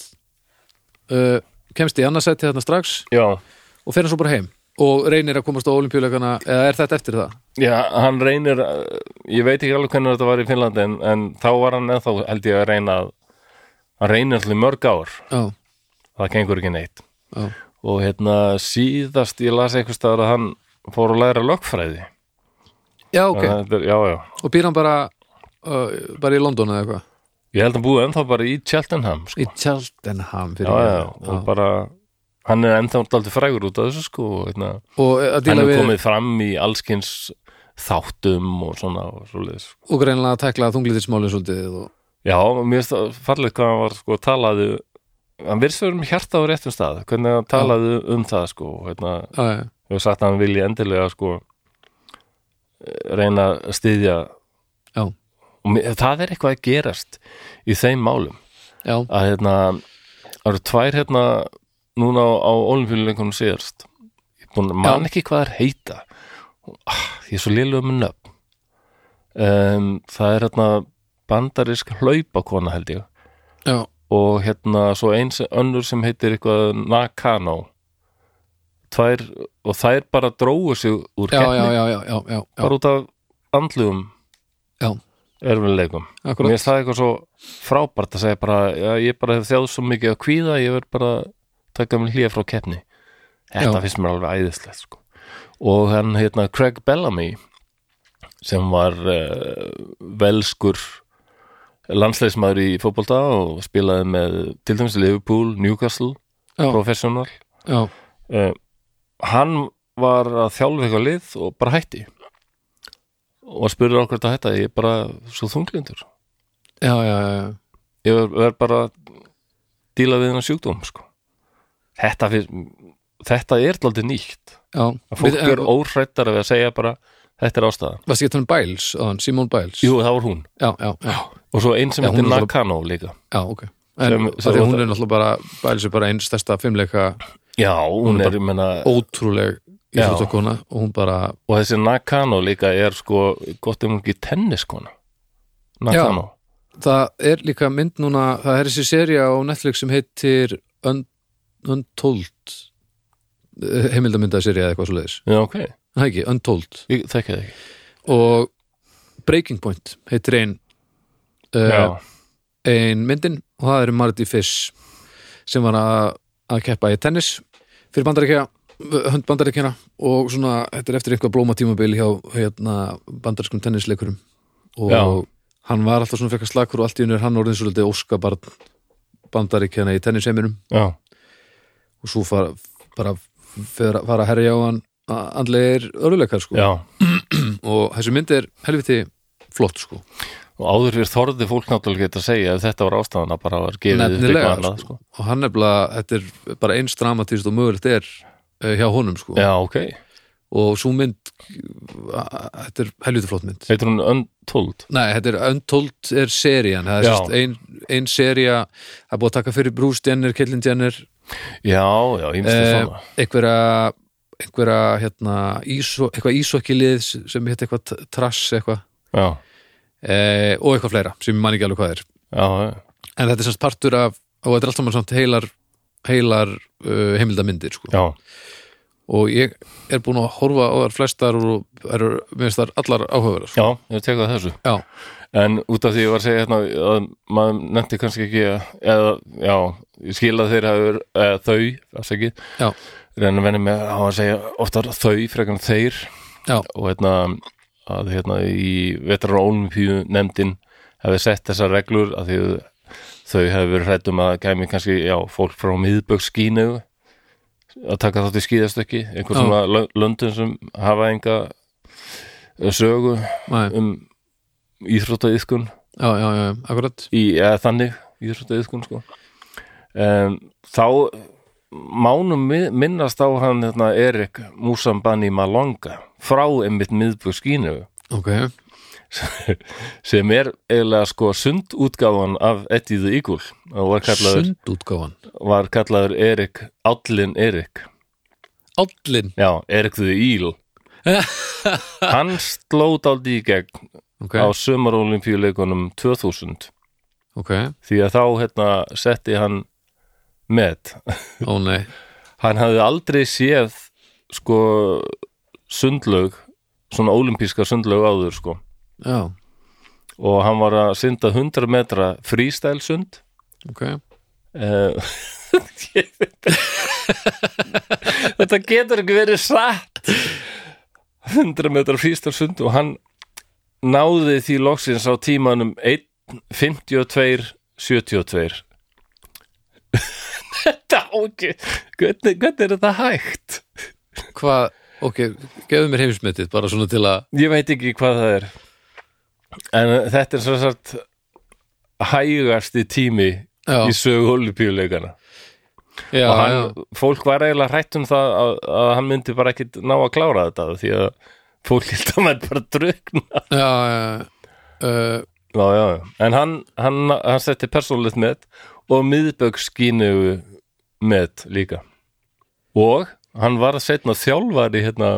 uh, kemst í annarsætti þarna strax
Já,
og fer hann svo bara heim og reynir að komast á olimpíuleikana eða er þetta eftir það?
já hann reynir uh, ég veit ekki alveg hvernig þetta var í Finnlandi en, en þá var hann ennþá held ég að reyna að hann reynir alltaf í mörg ár
Já,
það gengur ekki neitt
já,
og hérna síðast ég las einhvers staðar að hann fór að læra lögfræði
já ok,
Þannig að þetta er- Já, já
og býr hann bara uh, bara í London eða eitthvað
Ég held að hann búið ennþá bara í Cheltenham sko.
í Cheltenham
Já,
fyrir
já,
mér.
já, og bara hann er ennþá alltaf frægur út af þessu sko og hérna
og uh, að
hann
díla
er
við
komið fram í allskins þáttum og svona og svoleiðis. sko.
og greinlega að tekla þunglítismálið svolítið og
Já, mér finnst það farlegt hvað hann var sko talaði, hann virðist verið með hjarta á réttum stað, hvernig hann talaði um það sko, hérna,
já, já,
ég hef sagt að hann vilji endilega sko eh, reyna að styðja
Já.
og mér, það er eitthvað að gerast í þeim málum
já,
að hérna það eru tvær hérna núna á, á olimpíuleikunum síðast ég er búin að man ekki hvað þær heita ah, ég er svo lélega með nöfn um, það er hérna bandarisk hlaupakona held ég
já,
og hérna svo eins önnur sem heitir eitthvað Nakano tvær, og þær bara dróu sig úr
já, já,
keppni
já, já, já, já, já.
bara út af andlugum
Já.
erfiðleikum
akkurat
mér er það eitthvað svo frábært að segja bara, já, ég bara hef þjáð svo mikið að kvíða, ég verð bara að taka mér hlýja frá keppni þetta
Já.
finnst mér alveg æðislegt sko. og hann hérna Craig Bellamy sem var uh, velskur landsleismæður í fótbolta og spilaði með til dæmis Liverpool, Newcastle
Já.
professional
já,
uh, hann var að þjálfa eitthvað lið og bara hætti og spurði okkur þetta hætta ég er bara svo þunglindur
já, já, já, já.
ég verð ver bara að díla við hennar sjúkdóm sko. þetta, fyrst, þetta er alltaf nýtt
já.
að fólk
Við-
er óhrættar við að segja bara þetta er ástæða
varstu ekki að tala um Biles, áðan, Simone Biles
Jú, það var hún
já, já, já,
og svo einn sem
Já,
heitir
hún er alveg-
Nakano líka
já, ok
Sem-
en
sem
sem,
var
hún
það-
er náttúrulega bara Biles er bara einn stærsta fimmleika
Já, hún
er
er, ég menna
ótrúleg
Já.
íþróttakona og hún bara,
og þessi Nakano líka er sko gott ef hún ekki tenniskona Nakano
það er líka mynd núna, það er þessi seria á Netflix sem heitir Un- Untold heimildamyndaserja eða eitthvað svo leiðis
Já, ok,
það ekki, Untold
ég þekki það ekki
og Breaking Point heitir ein
Já,
uh, ein myndin og það eru Marty Fish sem var að, að keppa í tennis fyrir bandaríkja hönd bandaríkjana og svona, þetta er eftir eitthvað blóma tímabil hjá hérna, bandarískum tennisleikurum og
Já.
hann var alltaf svona fekka slakur og allt í hennu er hann orðin svolítið óskabarn bandaríkjana í tennisheiminum
já,
og svo fara, bara fara, fara að herja á hann a- andlegir örðuleikar sko
já
og þessi mynd er helviti flott sko
og áður fyrir þorði fólk náttúrulega geta að segja að þetta var ástæðan að bara var gefið upp
Nefnilega,
annað, sko.
og hann er bara, þetta er bara eins dramatist og mögulegt er eh, hjá honum sko
Já, ok,
og svo mynd a- a- þetta er helviti flott mynd
heitir hún Untold
Nei, þetta er Untold er serían það er
Já.
sérst ein, ein sería það er búið að taka fyrir Bruce Jenner, Caitlyn Jenner
Já, já, ímstu
eh,
svona
einhverja einhverja hérna íso, eitthvað ísokkilið sem heit eitthvað t- trass eitthvað
Já,
eh, og eitthvað fleira sem ég man ekki alveg hvað er
já, já
en þetta er semst partur af og þetta er allt saman samt heilar heilar uh, heimildamyndir sko.
Já,
og ég er búin að horfa á þar flestar og er, minnst þar allar áhugaverðar
já, ég tek það þessu
já,
En út af því ég var að segja hérna að maður nefndi kannski ekki að, eða, já, ég skil að þeir hafi verið- eða þau, það segi
Já.
Reyna að venni með á að segja oftar þau frekar en þeir
Já.
Og hérna að hérna í vetrar og olimpíu nefndin hefði sett þessar reglur að því þau hefði verið hrættum að kæmi kannski, já, fólk frá miðbögg skínu að taka þátt í skíðastökki einhvern
Já.
svona lö- löndum sem hafa enga sögu
næ,
um íþróttaiðkun
já, já, já, akkurat
í, eða þannig íþróttaiðkun sko um, þá mánum mi- minnast á hann hérna, Erik Musambani Malonga frá einmitt miðbúr skínu
ok,
sem er eiginlega sko sund útgáfan af Eddie the Eagle og var kallaður,
sundútgáfan
var kallaður Erik Állin Erik
allin,
já, Erik the Eagle hann slóð áldi í gegn
ok,
á sömarolimpíuleikunum 2000
ok
því að þá hérna setti hann met
ó nei,
hann hafði aldrei séð sko sundlaug svona olimpíska sundlaug áður sko
já,
og hann var að synda 100 metra freestyle sund
ok
uh, þetta getur ekki verið satt 100 metra freestyle sund og hann náði því loksins á tímanum 1.52.72 þetta á ekki hvernig, hvernig er þetta hægt
hvað, ok, gefðu mér heimsmetið bara svona til að
Ég veit ekki hvað það er En uh, þetta er svo sagt hægasti tími
Já.
í sögu olupíuleikana
já,
og hann, fólk var eiginlega hrætt um það að, að hann myndi bara ekkit ná að klára þetta því að fólk held að maður bara drukna
já, já, já. Uh,
já, já, já. en hann, hann, hann setti persónlegt met og miðböggskínu met líka og hann var að setna þjálfari hérna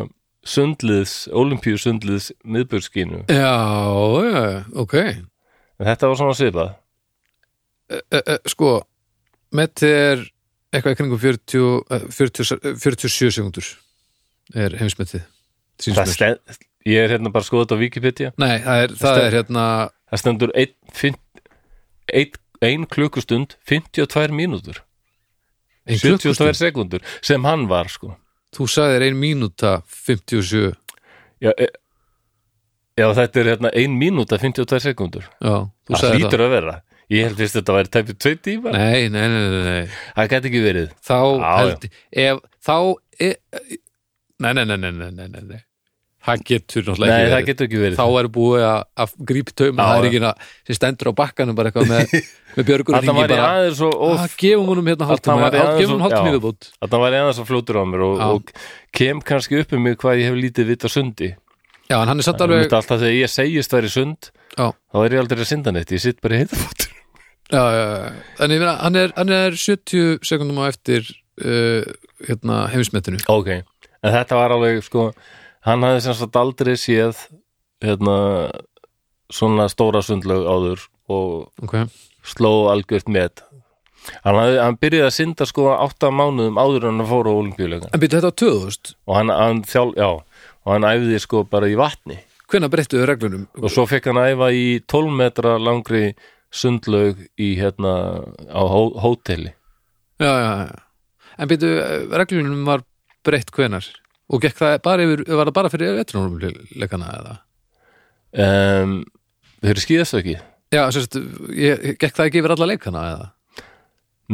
sundliðs, olimpíu sundliðs miðböggskínu,
já, já, já, ok
en þetta var svona svipað
uh, uh, sko, metið er eitthvað í kringum 40, uh, 40, 47 sekundur er heimsmetið
það
Sýnsmet.
stend, ég er hérna bara að skoða þetta á Wikipedia
Nei, það er, það
stendur-
er hérna
það stendur 1 klukkustund 52 mínútur
ein
72
klukkustund.
sekundur sem hann var sko
Þú sagðir ein mínúta 57
já, e, já þetta er hérna 1 mínúta 52 sekundur
Já, þú
það
sagðir það
hlýtur að vera ég held vist að þetta væri tæpið 2 tíma
Ah, Nei, nei, nei, nei, nei.
það gæti ekki verið
Þá
Já,
held ef, Þá e, nei, nei, nei, nei, nei, nei, nei, nei Það getur náttúrulega
nei
ekki
það
verið
getur ekki verið
Þá er búið að, að grípa taum
Já,
Það er
já.
ekki að, sem stendur á bakkanum bara eitthvað með, með björgur og
þetta
ringi
var í
bara
aðeins og
Ó,
of
gefum honum hérna
Þarna
hálftíma
var ég
hálf-
aðeins
gefum
of-
honum hálftíma
já.
viðbútt
þetta var í aðeins og fljótur á mér og,
Já.
og kem kannski upp um mig hvað ég hef lítið vita sundi
Já, en hann er satt
Alveg...
alveg
alltaf þegar ég segist það er sund
Já.
þá er ég aldrei að synda neitt, ég sitt bara í heitafótur
já, já, já. En ég meina, hann er, hann er 70 sekundum á eftir uh, hérna, heimsmetinu
ok, en þetta var alveg sko, hann hafði sem sagt aldrei séð hérna svona stóra sundlög áður og
okay.
sló algjört met hann, hafði, hann byrjaði að synda sko átta mánuðum áður en hann fór á olimpíuleikan
En byrja þetta á 2000
og hann, hann þjál, já, og hann æfði sko bara í vatni
Hvenær breyttuðu reglunum?
og svo fekk hann æfa í 12 metra langri sundlaug í hérna á hó hóteli
já, já, já. En býtu, reglunum var breytt hvenar og gekk það bara yfir, var það bara fyrir vetrunarumleikana eða?
um, þau eru skýðast ekki
Já, sérst, ég, gekk það ekki yfir alla leikana eða?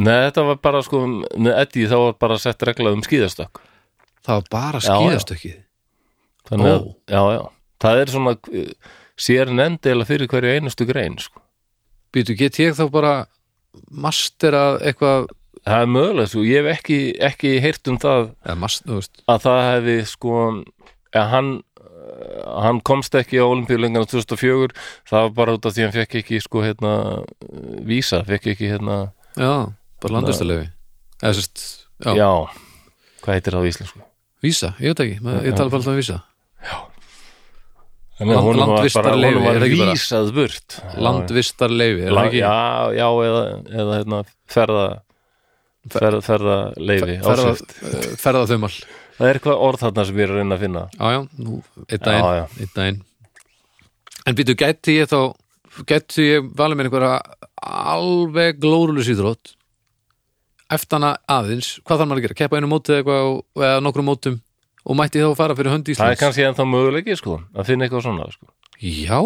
Nei, þetta var bara sko með Eddie þá var bara sett regla um skýðastökk
Það var bara
Já, já.
skýðast ekki
Þannig að,
Ó.
já, já Það er svona, eh, sér nefndi eða fyrir hverju einustu grein, sko
Býtu, get ég þá bara masterað eitthvað
Það er mögulega, sko, ég hef ekki, ekki heyrt um það
eða master, þú veist
að það hefði, sko að hann, eh, hann komst ekki á olimpíulengarna 2004 það var bara út af því hann fekk ekki, sko, hérna eh, vísa, fekk ekki, hérna
Já, bara landastalegi eða sérst, já,
Já, hvað heitir það á íslensku?
vísa, ég veit ekki maður- ég tala bara alltaf um vísa
Þannig að
Land-
honum var bara,
landvistarleyfi,
honum
er
var
það ekki bara?
vísað burt Já, já.
landvistarleifi, er
La,
það ekki?
já, já, eða, eða hérna, ferða ferða, ferða leifi,
ferða,
áskrift
eh, ferða þaumal
það er eitthvað orð þarna sem ég er að reyna að finna
Já, já, nú, einn
Já, já.
daginn, einn daginn. En býtu, gæti ég þá, gæti ég valið mér einhverja alveg glórulus íþrótt, eftir hana aðeins, hvað þarf maður að gera? Keppa einu mótið eitthvað og, eða nokkrum mótum og mætti ég þá að fara fyrir hönd
það er
Íslands?
kannski ennþá möguleiki sko, að finna eitthvað svona sko.
Já,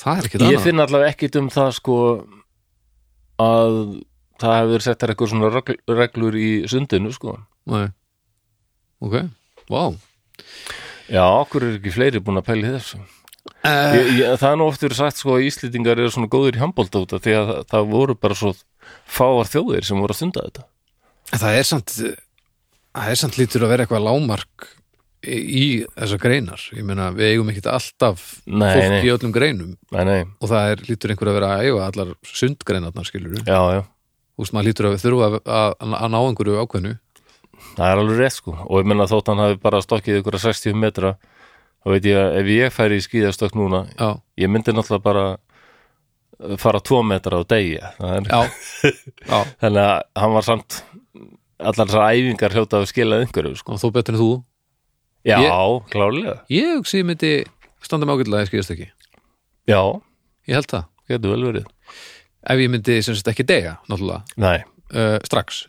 það er ekkert
ég
annað.
finn allavega ekkit um það sko, að það hefur settar eitthvað svona regl- reglur í sundinu sko.
Nei. Ok, vá. Wow.
já, okkur er ekki fleiri búin að pæli þessu
Eh,
ég, ég, það er nú oft verið sagt sko, að Íslendingar eru svona góðir í handbólta út af því að það, það voru bara svo fáar þjóðir sem voru að stunda þetta
það er samt, það er samt lítur að vera eitthvað lámark í, í þessar greinar. Ég meina, við eigum ekkert alltaf
Nei,
fólk
nei.
í öllum greinum.
nei, nei,
og það er, lítur einhver að vera að eiga allar sundgreinarnar skilur
já, já
þú veist maður lítur að þurfa að, að, að ná einhverju ákveðnu
Það er alveg rétt sko og ég menna þótt hann hafi bara stokkið ykkur að 60 metra þá veit ég að ef ég færi í skíðastökk núna
já,
ég myndi náttúrulega bara uh, fara 2 metra á degi þannig
já, já
að hann var samt allar þessar æfingar hljóta að skilað einhverju sko.
og þú betur en þú
Já,
Ég-
klárlega
ég hugsi ég myndi standa mig ágætlega ég skýrst ekki,
Já,
ég held það
getur vel verið
ef ég myndi sem sagt ekki deyja náttúrulega,
Nei,
uh, strax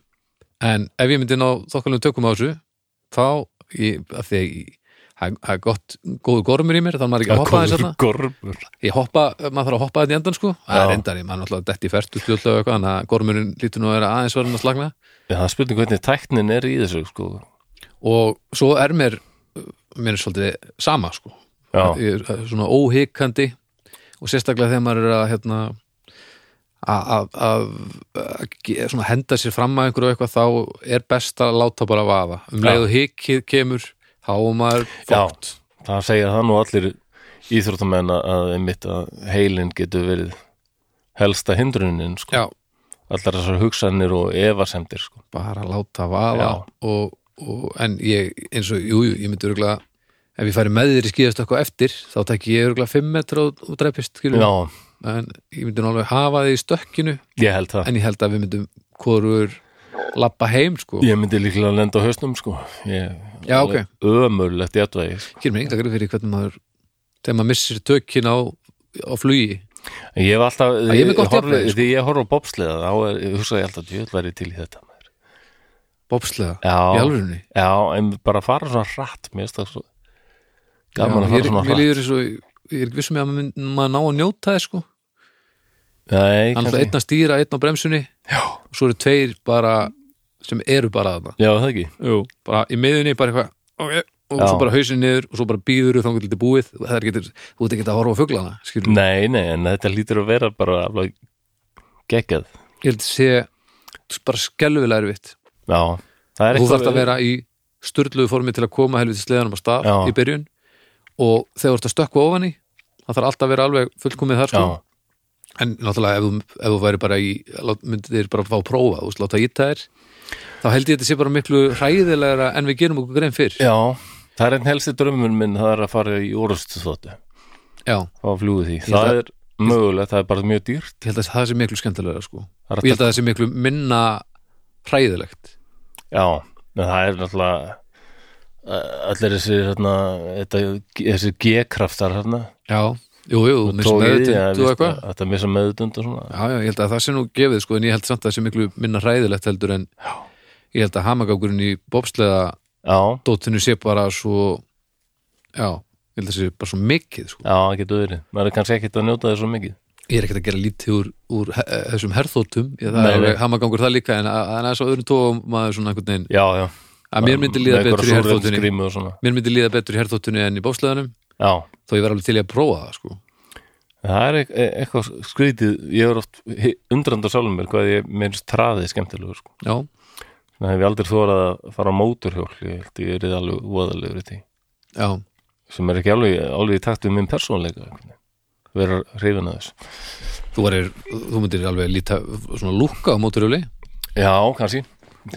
en ef ég myndi ná þokkalum tökum á þessu þá, ég, af því að ég- það það er gott, góður gormur í mér þannig maður ekki að hoppa þess að
gormur
ég hoppa, maður þarf að hoppa þetta í endan sko það er
Já.
endar, ég maður náttúrulega detti í fertu stjórnlega eitthvað, þannig að gormurinn lítur nú að vera aðeins verðum að slagna
Já, það er spurning hvernig tæknin er í þessu sko
og svo er mér mér er svolítið sama sko
já,
ég er eh, svona óhikandi og sérstaklega þegar maður er að hérna að- að að- að ge- svona henda sér fram að einhverju og eitthvað þá er best að láta bara vaða um
Já.
leið og hikið kemur þá er maður
Já.
flott
það segja það nú allir íþróttamenn að- að einmitt að heilin getur verið helsta hindrunin sko,
Já.
allar þessar hugsanir og efasemdir sko.
bara láta vaða
Já.
og, og, en ég eins og, jú, jú, ég myndi örgulega ef ég færi með þér í skíðast eitthvað eftir þá tek ég örgulega 5 metra og, og dreipist en
Já,
ég myndi nú alveg hafa þig í stökkinu
ég held það
en ég held að við myndum hvorur lappa heim sko
Ég myndi líklega að lenda á hausnum sko ég,
Já, ok.
Ömurlegt játvægi sko.
gerir mér einhverjum fyrir hvernig maður þegar maður missir tökin á, á flugi
En Ég hef alltaf
ég er með gott
horf-
jafnvægi, sko.
Því ég horf á bobsleða þá er, ég hugsa ég alltaf djöð væri til í þetta maður.
bobslega, í
Já,
alvörunni
já, en bara fara svona rætt Mér finnst það svo Gaman
Já,
að
ég,
fara svona
mér
rætt
líður svo, ég er ekki vissum ég að maður, mynd- maður ná að njóta þess sko
Nei,
hann er
kannski
einn að stýra, einn á bremsunni
Já.
og svo eru tveir bara sem eru bara þarna
Já, það ekki
Jú. bara í miðunni, bara eitthvað okay. og
Já.
svo bara hausin niður og svo bara býður þá getur búið, það er getur, þú ert ekki að horfa á fuglana skilur,
Nei, nei, en þetta lítur að vera bara afla, geggjað
ég held að sé bara skelvilega erfitt
Já, það er
þú
eitthvað
þarft að vera í styrluðu formi til að koma helviti sleðanum á stað
Já.
í byrjun og þegar þú ert að stökkva ofan í það þarf alltaf að vera alveg fullkomið þar sko.
Já,
en náttúrulega ef, þú- ef þú væri bara í lát- myndir þér bara fá að prófa þú veist, láta íta þér þá held ég þetta sé bara miklu hræðilegra en við gerum okkur grein fyrr
já Það er einn helsti drömmun minn Það er að fara í orðustu þóttu
Já,
á fljúið því
held
það er mögulegt, það er bara mjög dýrt
ég held að það sé miklu skemmtilegra sko.
Það er
og ég held að það sé miklu minna hræðilegt
já, en það er náttúrulega uh, allir þessi hérna, þetta, þessi g-kraftar hérna,
Já, jú, jú, þú missir
togið í, ja,
meðutund og
víst,
eitthvað
þetta missa meðutund og svona
Já, já, ég held að það sé nú gefið sko, en ég held samt að það sé miklu minna hræðilegt heldur en já. ég held að hamagákurinn í bobsleða
já,
dóttinu sé bara svo já, ég held að það sé bara svo mikið sko.
já, það getur verið maður er kannski ekkert að njóta þess svo mikið
ég er ekkert að gera lítið úr, úr he- eh, þessum herþóttum, ég það
Nei,
er alveg
nei.
hamagangur það líka en að en aðeins á öðrum tóum maður svona einhvern veginn,
já, já,
að mér myndi líða betur í herþóttunni
skrímu og svona
mér myndi líða betur í herþóttunni en í bobsleðanum
já,
þó ég var alveg til í að prófa það sko.
það er eit- e- eitthvað skrítið ég er oft undrand á sjálfum mér hvað ég minnst traðið skemmtilegu sko.
já,
það hef ég aldrei þórað að fara á móturhjól ég held ég er alveg voðalegur í því
já,
sem er ekki alveg, alveg í takt við minn persónleika einhvern veginn. vera hrifin að þessu
þú, varir, þú myndir alveg líta svona lúkka á móturjóli
já, kannski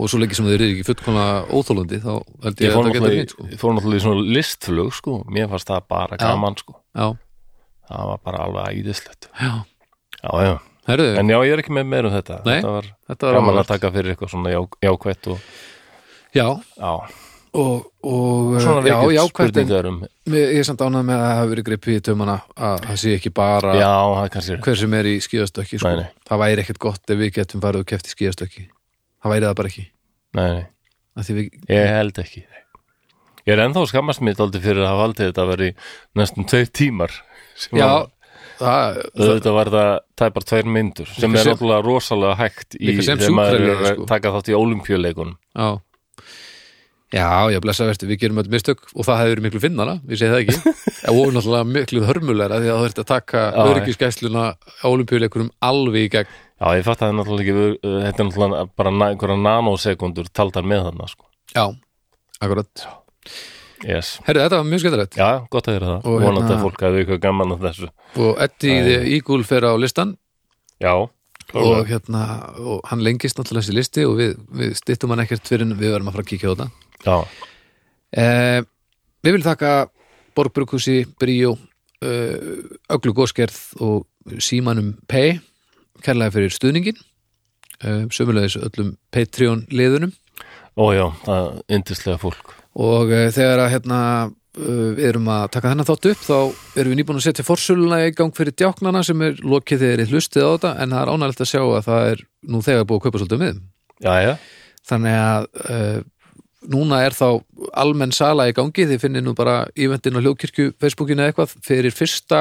og svo lengi sem þeir eru ekki fullkona óþólandi þá held
ég
ég
fór
að það getur
náttúrulega,
hitt sko.
í- fór náttúrulega í svona listflug sko. mér fannst það bara gaman sko.
já,
það var bara alveg æðislegt
já,
já, já.
herðu,
en já, ég er ekki með meir um þetta
Nei,
þetta var
þetta var
gaman
áhugavert.
að taka fyrir eitthvað svona já, jákvætt og,
já,
já,
og, og
svona
já, já, hvert en
spurningar um já,
mér- ég er samt ánað með að það hafi verið gripið í tömana að það sé ekki bara
það er kannski
hver sem er í skíðastökki sko.
Nei, nei.
það væri ekkert gott ef við getum farið og keft í skíðastökki það væri það bara ekki
nei, nei,
Af því við,
ég held ekki nei. ég er ennþá skammast mér aldrei fyrir að hafa aldrei þetta að vera í næstum tveir tímar sem
já,
að-
það,
auðvitað var það tæpar tveir myndur sem
Líka
er
sem-
náttúrulega rosalega hægt í
Líka sem
þegar maður er
sjúkraliði,
að
sko.
taka þátt í ólimpíuleikunum
já já, já, blessaverti, við gerum öll mistök og það hefur verið miklu finnara, ég segi það ekki og náttúrulega miklu hörmulegra því að það verður að taka
Já, já.
öryggisgæsluna á olimpíuleikunum alveg í gegn
Já, ég fatt að það er náttúrulega ekki við- uh, þetta er náttúrulega bara na- einhverja nanosekundur taldar með þarna, sko
já, akkurat
yes.
herru, þetta var mjög skemmtilegt
Já, gott að gera það,
Og
vonandi
hérna-
að fólk hefði eitthvað gaman af þessu
og Eddie the Eagle fer á listan
Já,
og
klárlega.
hérna, og hann lengist náttúrulega þessi listi og við, við stittum hann ekkert fyrir en við verðum að fara að kíkja á þetta
já,
eh, Við viljum þakka Borgbrukusi, Bríó eh, Öglu Góskerð og Símanum Pei kærlega fyrir stuðningin eh, sömulegis öllum Patreon liðunum
ó já, það er yndislega fólk
og eh, þegar að hérna eh, við erum að taka þennan þátt upp þá erum við nýbúin að setja forsöluna í gang fyrir djáknana sem er lokið þegar í hlustið á þetta en það er ánægilegt að sjá að það er nú þegar búið að kaupa svolítið um miðum
Já, já,
þannig að uh, núna er þá almenn sala í gangi þið finnir nú bara ívendin á hljókirkju Facebookinu eða eitthvað fyrir fyrsta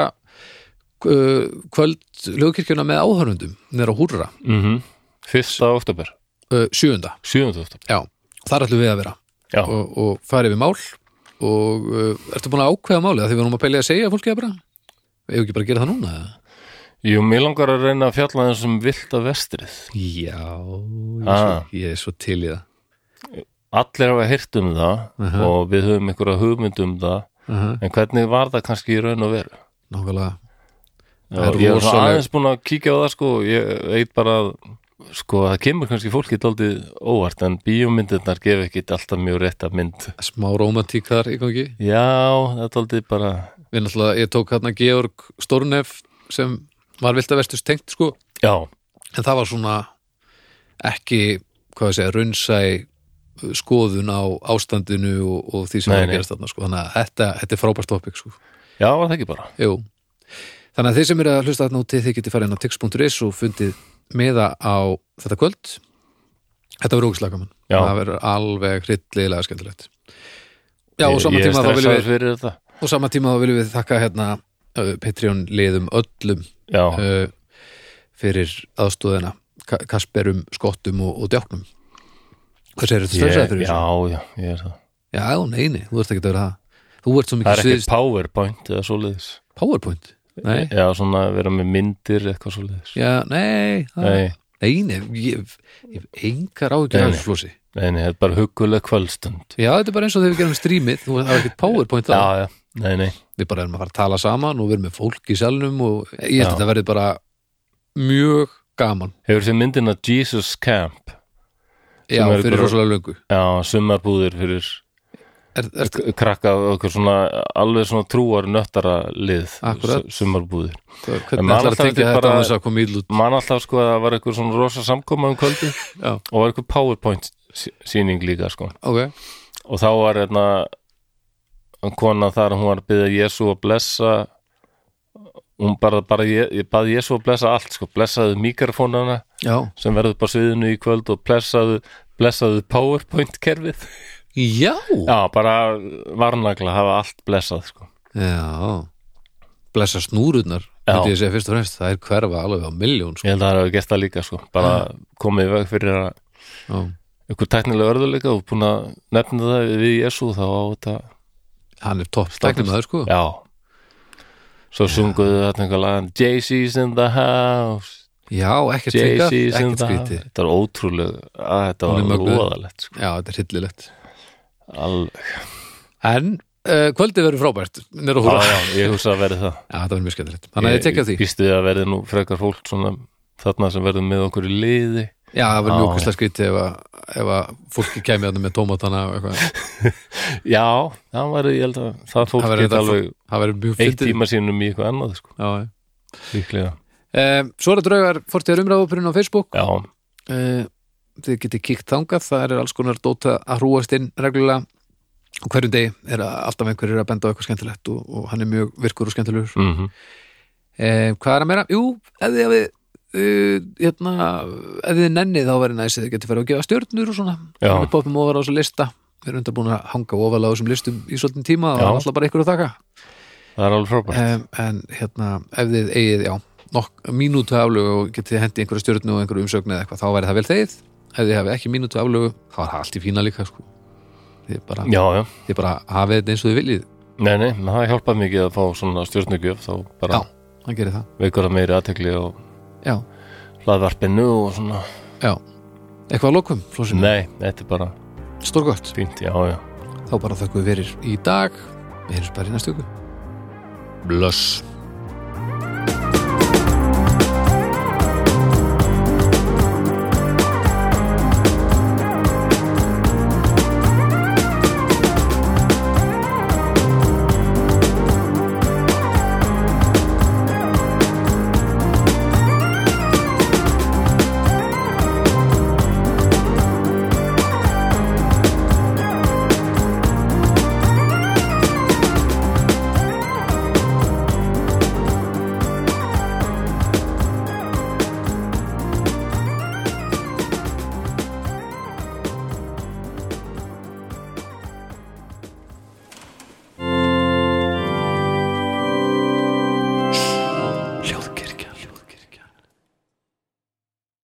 uh, kvöld hljókirkjuna með áhörnundum nýra húrra,
mhm Fyrsta oktober,
uh, sjöunda
7. oktober
já, þar ætlum við að vera
Já.
og, og farið við mál og uh, ertu búin að ákveða málið af því við erum að pælið að segja fólki það bara ef ekki bara að gera það núna eða?
Jú, mér langar að reyna að fjalla þessum vilda vestrið.
já, ég, er
Ah.
svo, ég er svo til í það
Allir hafa heyrt um það
Aha.
og við höfum einhverja hugmynd um það,
uh
en hvernig var það kannski í raun og veru?
nákvæmlega
Já,
Það er
ég er svona
rosaleg-
aðeins búin að kíkja á það sko, ég veit bara að sko, það kemur kannski fólki daldið óvart en bíómyndirnar gef ekki alltaf mjög rétta mynd.
smá rómantík þar í gangi
Já, það er daldið bara
við náttúrulega, ég tók hérna Georg Stórnef sem var vilt að verðstu stengt sko,
Já,
en það var svona ekki, hvað ég segja, raunsæ uh, skoðun á ástandinu og, og því sem
Nei,
var
nei.
að gerast þarna sko, þannig að þetta, þetta er frábært topic sko,
já, var það ekki bara
jú þannig að þeir sem eru að hlusta þarna úti, þeir geti farið inn á tix.is og fundið meða á þetta kvöld þetta verður ógislega gaman,
Já.
það verður alveg hryllilega skemmtilegt já, og
Ég-
saman
Ég er
tíma þá viljum við
stressaður fyrir þetta
og sama tíma þá viljum við þakka hérna uh, Patreon liðum öllum
Já,
uh, fyrir aðstóðina Ka Kasperum, Skottum og, og Djáknum hvað segir þetta stressaði
ég,
fyrir
já,
þessu?
já, ég er það
Já, neini, þú ert ekki að vera það þú ert svo
Það er
mikið
ekki
sviðist
powerpoint eða svoleiðis
PowerPoint nei,
Já, svona vera með myndir eitthvað svoleiðis
já, nei, það-
Nei,
neini ég, ég hef engar áhyggjur
Nei,
af
nei.
þessu flósi
nei, nei, þetta er bara hugguleg kvöldstund
já, þetta er bara eins og þegar við gerum strímið þú það er ekki PowerPoint þá,
Já, já, nei, nei
við bara erum að fara að tala saman og við erum með fólk í salnum og ég held
Já.
að þetta verði bara mjög gaman
Hefur þessi myndina Jesus Camp
já,
eru
fyrir
bara-
rosalega löngu
Já, sumarbúðir fyrir
er, er,
K- krakka okkur svona alveg svona trúar nöttara lið
Akkúrat.
sumarbúðir En
hvernig ætlar
maður
að
alltaf
tengja
ekki
þetta
bara-
á þess að koma íl út
mann alltaf sko að það var eitthvað svona rosa samkoma um kvöldi
Já.
og var eitthvað powerpoint sí- sýning líka sko
ok,
og þá var hérna kona þar hún var að byggja Jésu að blessa hún bara, bara ég, ég bað Jésu að blessa allt sko, blessaðu mikrofónana
já
sem verður bara sviðinu í kvöld og blessaðu, blessaðu powerpoint kerfið
já,
já, bara varnagla hafa allt blessað sko
já. blessa snúrunar
Já.
myndi ég segja fyrst og fremst, það er hverfa alveg á miljón sko.
Ég held að það hefur gert það líka sko bara komið í veg fyrir að
já.
ykkur tæknilega örðuleika og búin að nefna það við Jésu þá á þetta
hann er topp stæknum aður sko
Já Svo sunguðu þetta einhver lagan Jay-Z's in the house
já, ekkert skrítið
Jay-Z's in
ekkert
the house
skrítið
Þetta er ótrúlega að þetta
Hún er
var
mögnuð.
roðalegt sko.
já, þetta er hryllilegt
Alveg
en uh, kvöldið verður frábært nýr og
Já,
húra já,
já, ég hugsa að verði það
þetta verður mjög skemmtilegt þannig að ég tekja því,
Vistu að verði nú frekar fólk svona þarna sem verður með okkur í liði
já, það verður
Já,
mjög okkurslega skrítið ef að, ef að fólki kemur þarna með tómatana og eitthvað.
Já, það var, ég held að það fólk
það verður-
geta alveg
það verður mjög
eitt
fyndið.
tíma sínum í eitthvað annað sko,
já, já
líklega
Um, svo er að draugar fórtíðar umræðupurinn á Facebook
Já, Eh,
um, Þið getið kíkt þangað Það er alls konar dóta að hrúast inn reglulega og hverjum degi er að- alltaf einhverjir að benda á eitthvað skemmtilegt og, og hann er mjög virkur og skemmtilegur
mhm
um, Hvað er að meira? Jú, ef þið hafið Uh, hérna, ef þið nennið þá verið næs þið getið farið að gefa stjörnur og svona
Já.
við poppum ofar á þessu lista við erum undan búin að hanga ofalega á þessum listum í svolítinn tíma og
Já.
það er alltaf bara ykkur að taka
Það er alveg frábært.
um, en hérna, ef þið eigið já, nokk mínútu aflögu og getið hendi einhverju stjórnu og einhverju umsögnu eða eitthvað, þá væri það vel þegið ef þið hefði ekki mínútu aflögu, þá er það allt í fína líka sko. þið bara,
Já, já.
þið bara hafið þetta eins og þið viljið
Nei, nei, menn það hjálpaði mikið að fá svona stjórnugjöf, þá bara
já, það gerir það
veikur það meiri aðtekli á
já,
hlaðvarpinu og svona.
já. eitthvað að lokum, flósum,
Nei, þetta er bara
stórgott
fínt, já, já.
þá bara þakkuðu verir í dag við erum bara í næstu ykkur blöss